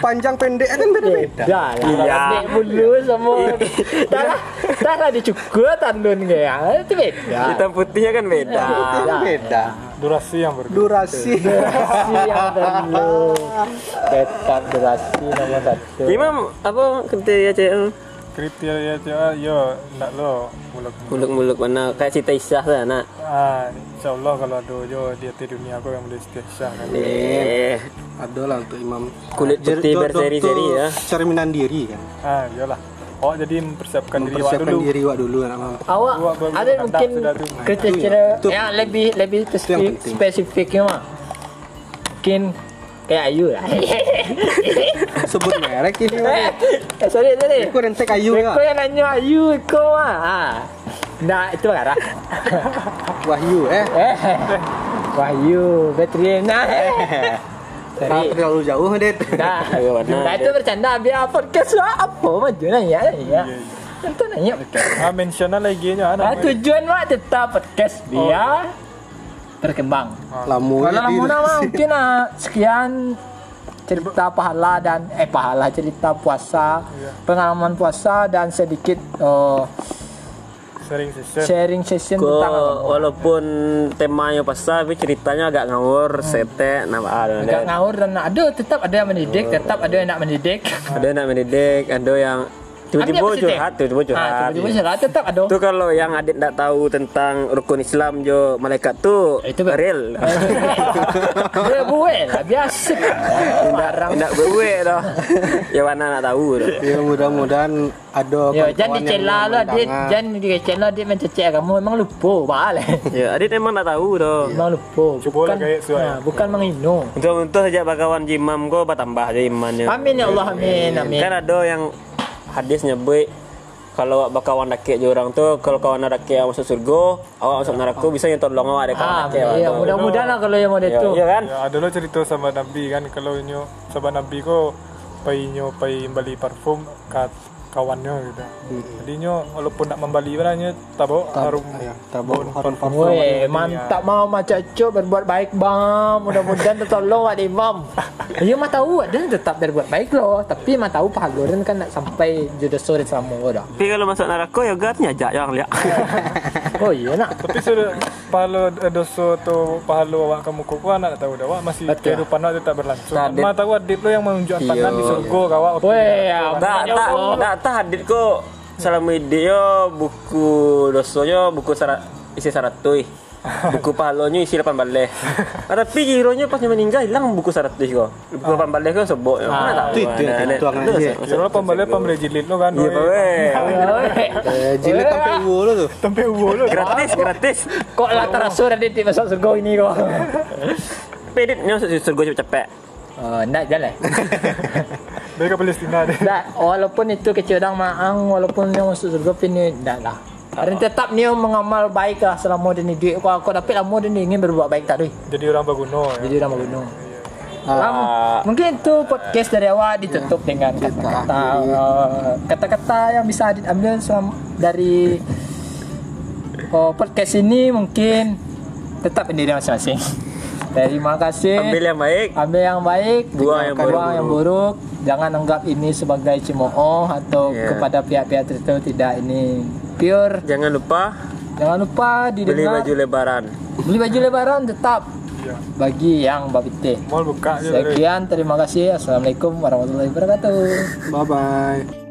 [SPEAKER 5] Panjang pendek kan beda-beda
[SPEAKER 2] Dah lah,
[SPEAKER 3] Iya.
[SPEAKER 2] pendek bulu semua. Dah lah, dah lah dicukur tandun gaya. Itu beda.
[SPEAKER 3] Hitam putihnya kan beda.
[SPEAKER 5] Itu Iya, beda
[SPEAKER 4] durasi yang berbeda
[SPEAKER 5] Durasi
[SPEAKER 2] Durasi yang dulu. Tetap durasi nomor satu.
[SPEAKER 3] Imam apa ya, kriteria cewek lu?
[SPEAKER 4] kriteria aja yo ndak lo muluk
[SPEAKER 3] Muluk-muluk mana kayak Siti Isyah lah nak.
[SPEAKER 4] ah insyaallah kalau ada yo dia di dunia aku yang boleh istiqsah kan
[SPEAKER 5] Iya.
[SPEAKER 3] Eh,
[SPEAKER 5] Ada lah untuk imam
[SPEAKER 3] Kulit putih berseri-seri ya.
[SPEAKER 5] Cerminan diri kan
[SPEAKER 4] ah iyalah oh jadi mempersiapkan, diri wak
[SPEAKER 5] Mempersiapkan
[SPEAKER 4] dulu
[SPEAKER 5] diri wak dulu kan. anak mama.
[SPEAKER 2] Awak
[SPEAKER 4] Dua baru
[SPEAKER 2] ada
[SPEAKER 4] kadang
[SPEAKER 2] mungkin
[SPEAKER 4] sudah tu.
[SPEAKER 2] kira-kira
[SPEAKER 5] Itu
[SPEAKER 2] ya lebih lebih
[SPEAKER 5] yang
[SPEAKER 2] spesifik
[SPEAKER 5] penting.
[SPEAKER 2] spesifiknya mah. Mungkin kayak Ayu lah.
[SPEAKER 5] Sebut merek ini
[SPEAKER 2] Eh,
[SPEAKER 5] wak
[SPEAKER 2] sorry, sorry.
[SPEAKER 5] Aku rentek ayu
[SPEAKER 2] Ayu
[SPEAKER 5] ya
[SPEAKER 2] Kau yang nanya Ayu kau ah. Ha. Nah, itu marah.
[SPEAKER 5] Wahyu eh
[SPEAKER 2] eh. Wahyu, Betrin. Nah.
[SPEAKER 5] Nah,
[SPEAKER 2] Sorry.
[SPEAKER 5] terlalu jauh deh
[SPEAKER 2] Nah, nah itu bercanda biar podcast lah apa maju nanya ya. Tentu nanya podcast.
[SPEAKER 4] ah mention lagi nya
[SPEAKER 2] Nah,
[SPEAKER 4] anak
[SPEAKER 2] tujuan mah tetap podcast dia berkembang.
[SPEAKER 5] Lamu
[SPEAKER 2] Kalau lama nama mungkin ah, sekian cerita pahala dan eh pahala cerita puasa, pengalaman puasa dan sedikit eh,
[SPEAKER 4] sering session
[SPEAKER 2] sharing session
[SPEAKER 3] Ko,
[SPEAKER 2] tentang apa.
[SPEAKER 3] walaupun temanya pasal tapi ceritanya agak ngawur, sete, nah ada.
[SPEAKER 2] Agak ngawur dan ada tetap ada yang mendidik, tetap ada yang nak mendidik.
[SPEAKER 3] Ada yang nak mendidik, ada yang tiba-tiba
[SPEAKER 2] Ada yang
[SPEAKER 3] curhat,
[SPEAKER 2] positif.
[SPEAKER 3] tiba-tiba
[SPEAKER 2] Ah,
[SPEAKER 3] curhat. Iya.
[SPEAKER 2] tiba-tiba curhat tetap ada.
[SPEAKER 3] Itu kalau yang adik tak tahu tentang rukun Islam jo malaikat tu
[SPEAKER 2] Itu ber-
[SPEAKER 3] real.
[SPEAKER 2] Dia buat lah biasa. Barang.
[SPEAKER 3] Tidak berwek dah. Ya mana nak tahu dah.
[SPEAKER 5] Ya mudah-mudahan ada kawan-kawan
[SPEAKER 2] Ya,
[SPEAKER 3] kan
[SPEAKER 2] jangan
[SPEAKER 5] yang
[SPEAKER 2] dicela lah
[SPEAKER 5] berpandangan.
[SPEAKER 2] dia, jangan dicela lah dia mencecek kamu memang lupa balik.
[SPEAKER 3] Ya, adik memang tak tahu dah.
[SPEAKER 2] Memang lupa.
[SPEAKER 4] Cuba lah kayak suai.
[SPEAKER 2] ah, bukan mengino.
[SPEAKER 3] Untuk-untuk saja bakawan jimam kau bertambah aja imannya.
[SPEAKER 2] Amin ya Allah amin amin.
[SPEAKER 3] Kan ada yang hadis nyebut kalau awak bakawan dakik je orang tu kalau kawan dakik awak masuk surga, awak masuk neraka bisa yang tolong awak ada kawan
[SPEAKER 2] Ah,
[SPEAKER 3] dakik. awak
[SPEAKER 2] ya,
[SPEAKER 3] tu.
[SPEAKER 2] mudah-mudahan lah kalau yang mau
[SPEAKER 3] Ya,
[SPEAKER 2] itu.
[SPEAKER 3] ya kan?
[SPEAKER 4] ya ada lo cerita sama nabi kan kalau nyo sama nabi ko pai nyo pai beli parfum kat kawannya gitu
[SPEAKER 5] Hmm.
[SPEAKER 4] jadi nyo walaupun nak membeli barangnya tabo harum
[SPEAKER 5] Ya, tabung harum parfum.
[SPEAKER 2] Woi, mantap mau macam cok berbuat baik bang. Mudah-mudahan tertolong ada imam. Ya mah tahu dan tetap berbuat baik loh. Tapi mah tahu pahala dan kan nak sampai jodoh sore sama gua dah.
[SPEAKER 3] Tapi kalau masuk neraka yoga tu nyajak yang lihat.
[SPEAKER 2] Oh iya nak.
[SPEAKER 4] tapi sudah pahala eh, dosa tu pahala awak kamu kuku anak tahu dah awak masih
[SPEAKER 2] Betul.
[SPEAKER 4] kehidupan awak tu tak berlangsung
[SPEAKER 3] Tak, Iya.
[SPEAKER 4] nah, tahu adib lo yang menunjukkan pandang di surga kau awak
[SPEAKER 2] Woi, ya.
[SPEAKER 3] Tak tak tak tak hadis ko selama dia buku dosonya buku syarat isi saratui buku pahalonyo isi lapan balai ah, tapi gironya pas dia meninggal hilang buku saratui kok buku
[SPEAKER 5] Ah.
[SPEAKER 3] lapan balai kan sebok ya mana tahu
[SPEAKER 5] Itu, itu yang
[SPEAKER 3] ada-
[SPEAKER 5] Ah. tuang
[SPEAKER 3] ada-
[SPEAKER 5] aja.
[SPEAKER 3] ada-
[SPEAKER 4] Kira pembeli pembeli jilid lo kan.
[SPEAKER 3] iya
[SPEAKER 4] oi.
[SPEAKER 3] Pak, weh.
[SPEAKER 5] Eh, jilid sampai uwo lo tuh.
[SPEAKER 4] Tempe uwo lo.
[SPEAKER 3] gratis gratis
[SPEAKER 2] Kok lah terasa tadi di masuk surga ini kok.
[SPEAKER 3] pedit nyos surga cepet cepet
[SPEAKER 2] Oh, nak jalan.
[SPEAKER 4] Dari ke Palestina deh.
[SPEAKER 2] Dah, walaupun itu kecil dang maang, walaupun dia masuk surga pini dah lah. Dan tetap dia mengamal baik lah selama dia ni duit kau aku dapat lama dia ni ingin berbuat baik tak duit.
[SPEAKER 4] Jadi orang Baguna ya.
[SPEAKER 2] Jadi ramah gunung.
[SPEAKER 5] Ah,
[SPEAKER 2] Lam, mungkin itu podcast dari awal ditutup dengan kata-kata uh, kata-kata yang bisa diambil selam- dari oh, podcast ini mungkin tetap pendirian masing-masing. Terima
[SPEAKER 5] Eh.
[SPEAKER 2] kasih.
[SPEAKER 3] ambil yang baik
[SPEAKER 2] Ambil yang baik,
[SPEAKER 3] Buang yang
[SPEAKER 2] buang yang buruk. Jangan anggap ini sebagai cemooh atau
[SPEAKER 3] Iya.
[SPEAKER 2] kepada pihak-pihak tertentu tidak ini pure.
[SPEAKER 3] jangan lupa
[SPEAKER 2] Jangan lupa
[SPEAKER 3] beli
[SPEAKER 2] didengar
[SPEAKER 3] baju lebaran
[SPEAKER 2] beli baju lebaran tetap bagi yang babiteh.
[SPEAKER 3] Iya.
[SPEAKER 4] Mall buka aja. deh.
[SPEAKER 2] Sekian, terima kasih. Assalamualaikum warahmatullahi wabarakatuh.
[SPEAKER 5] Bye bye.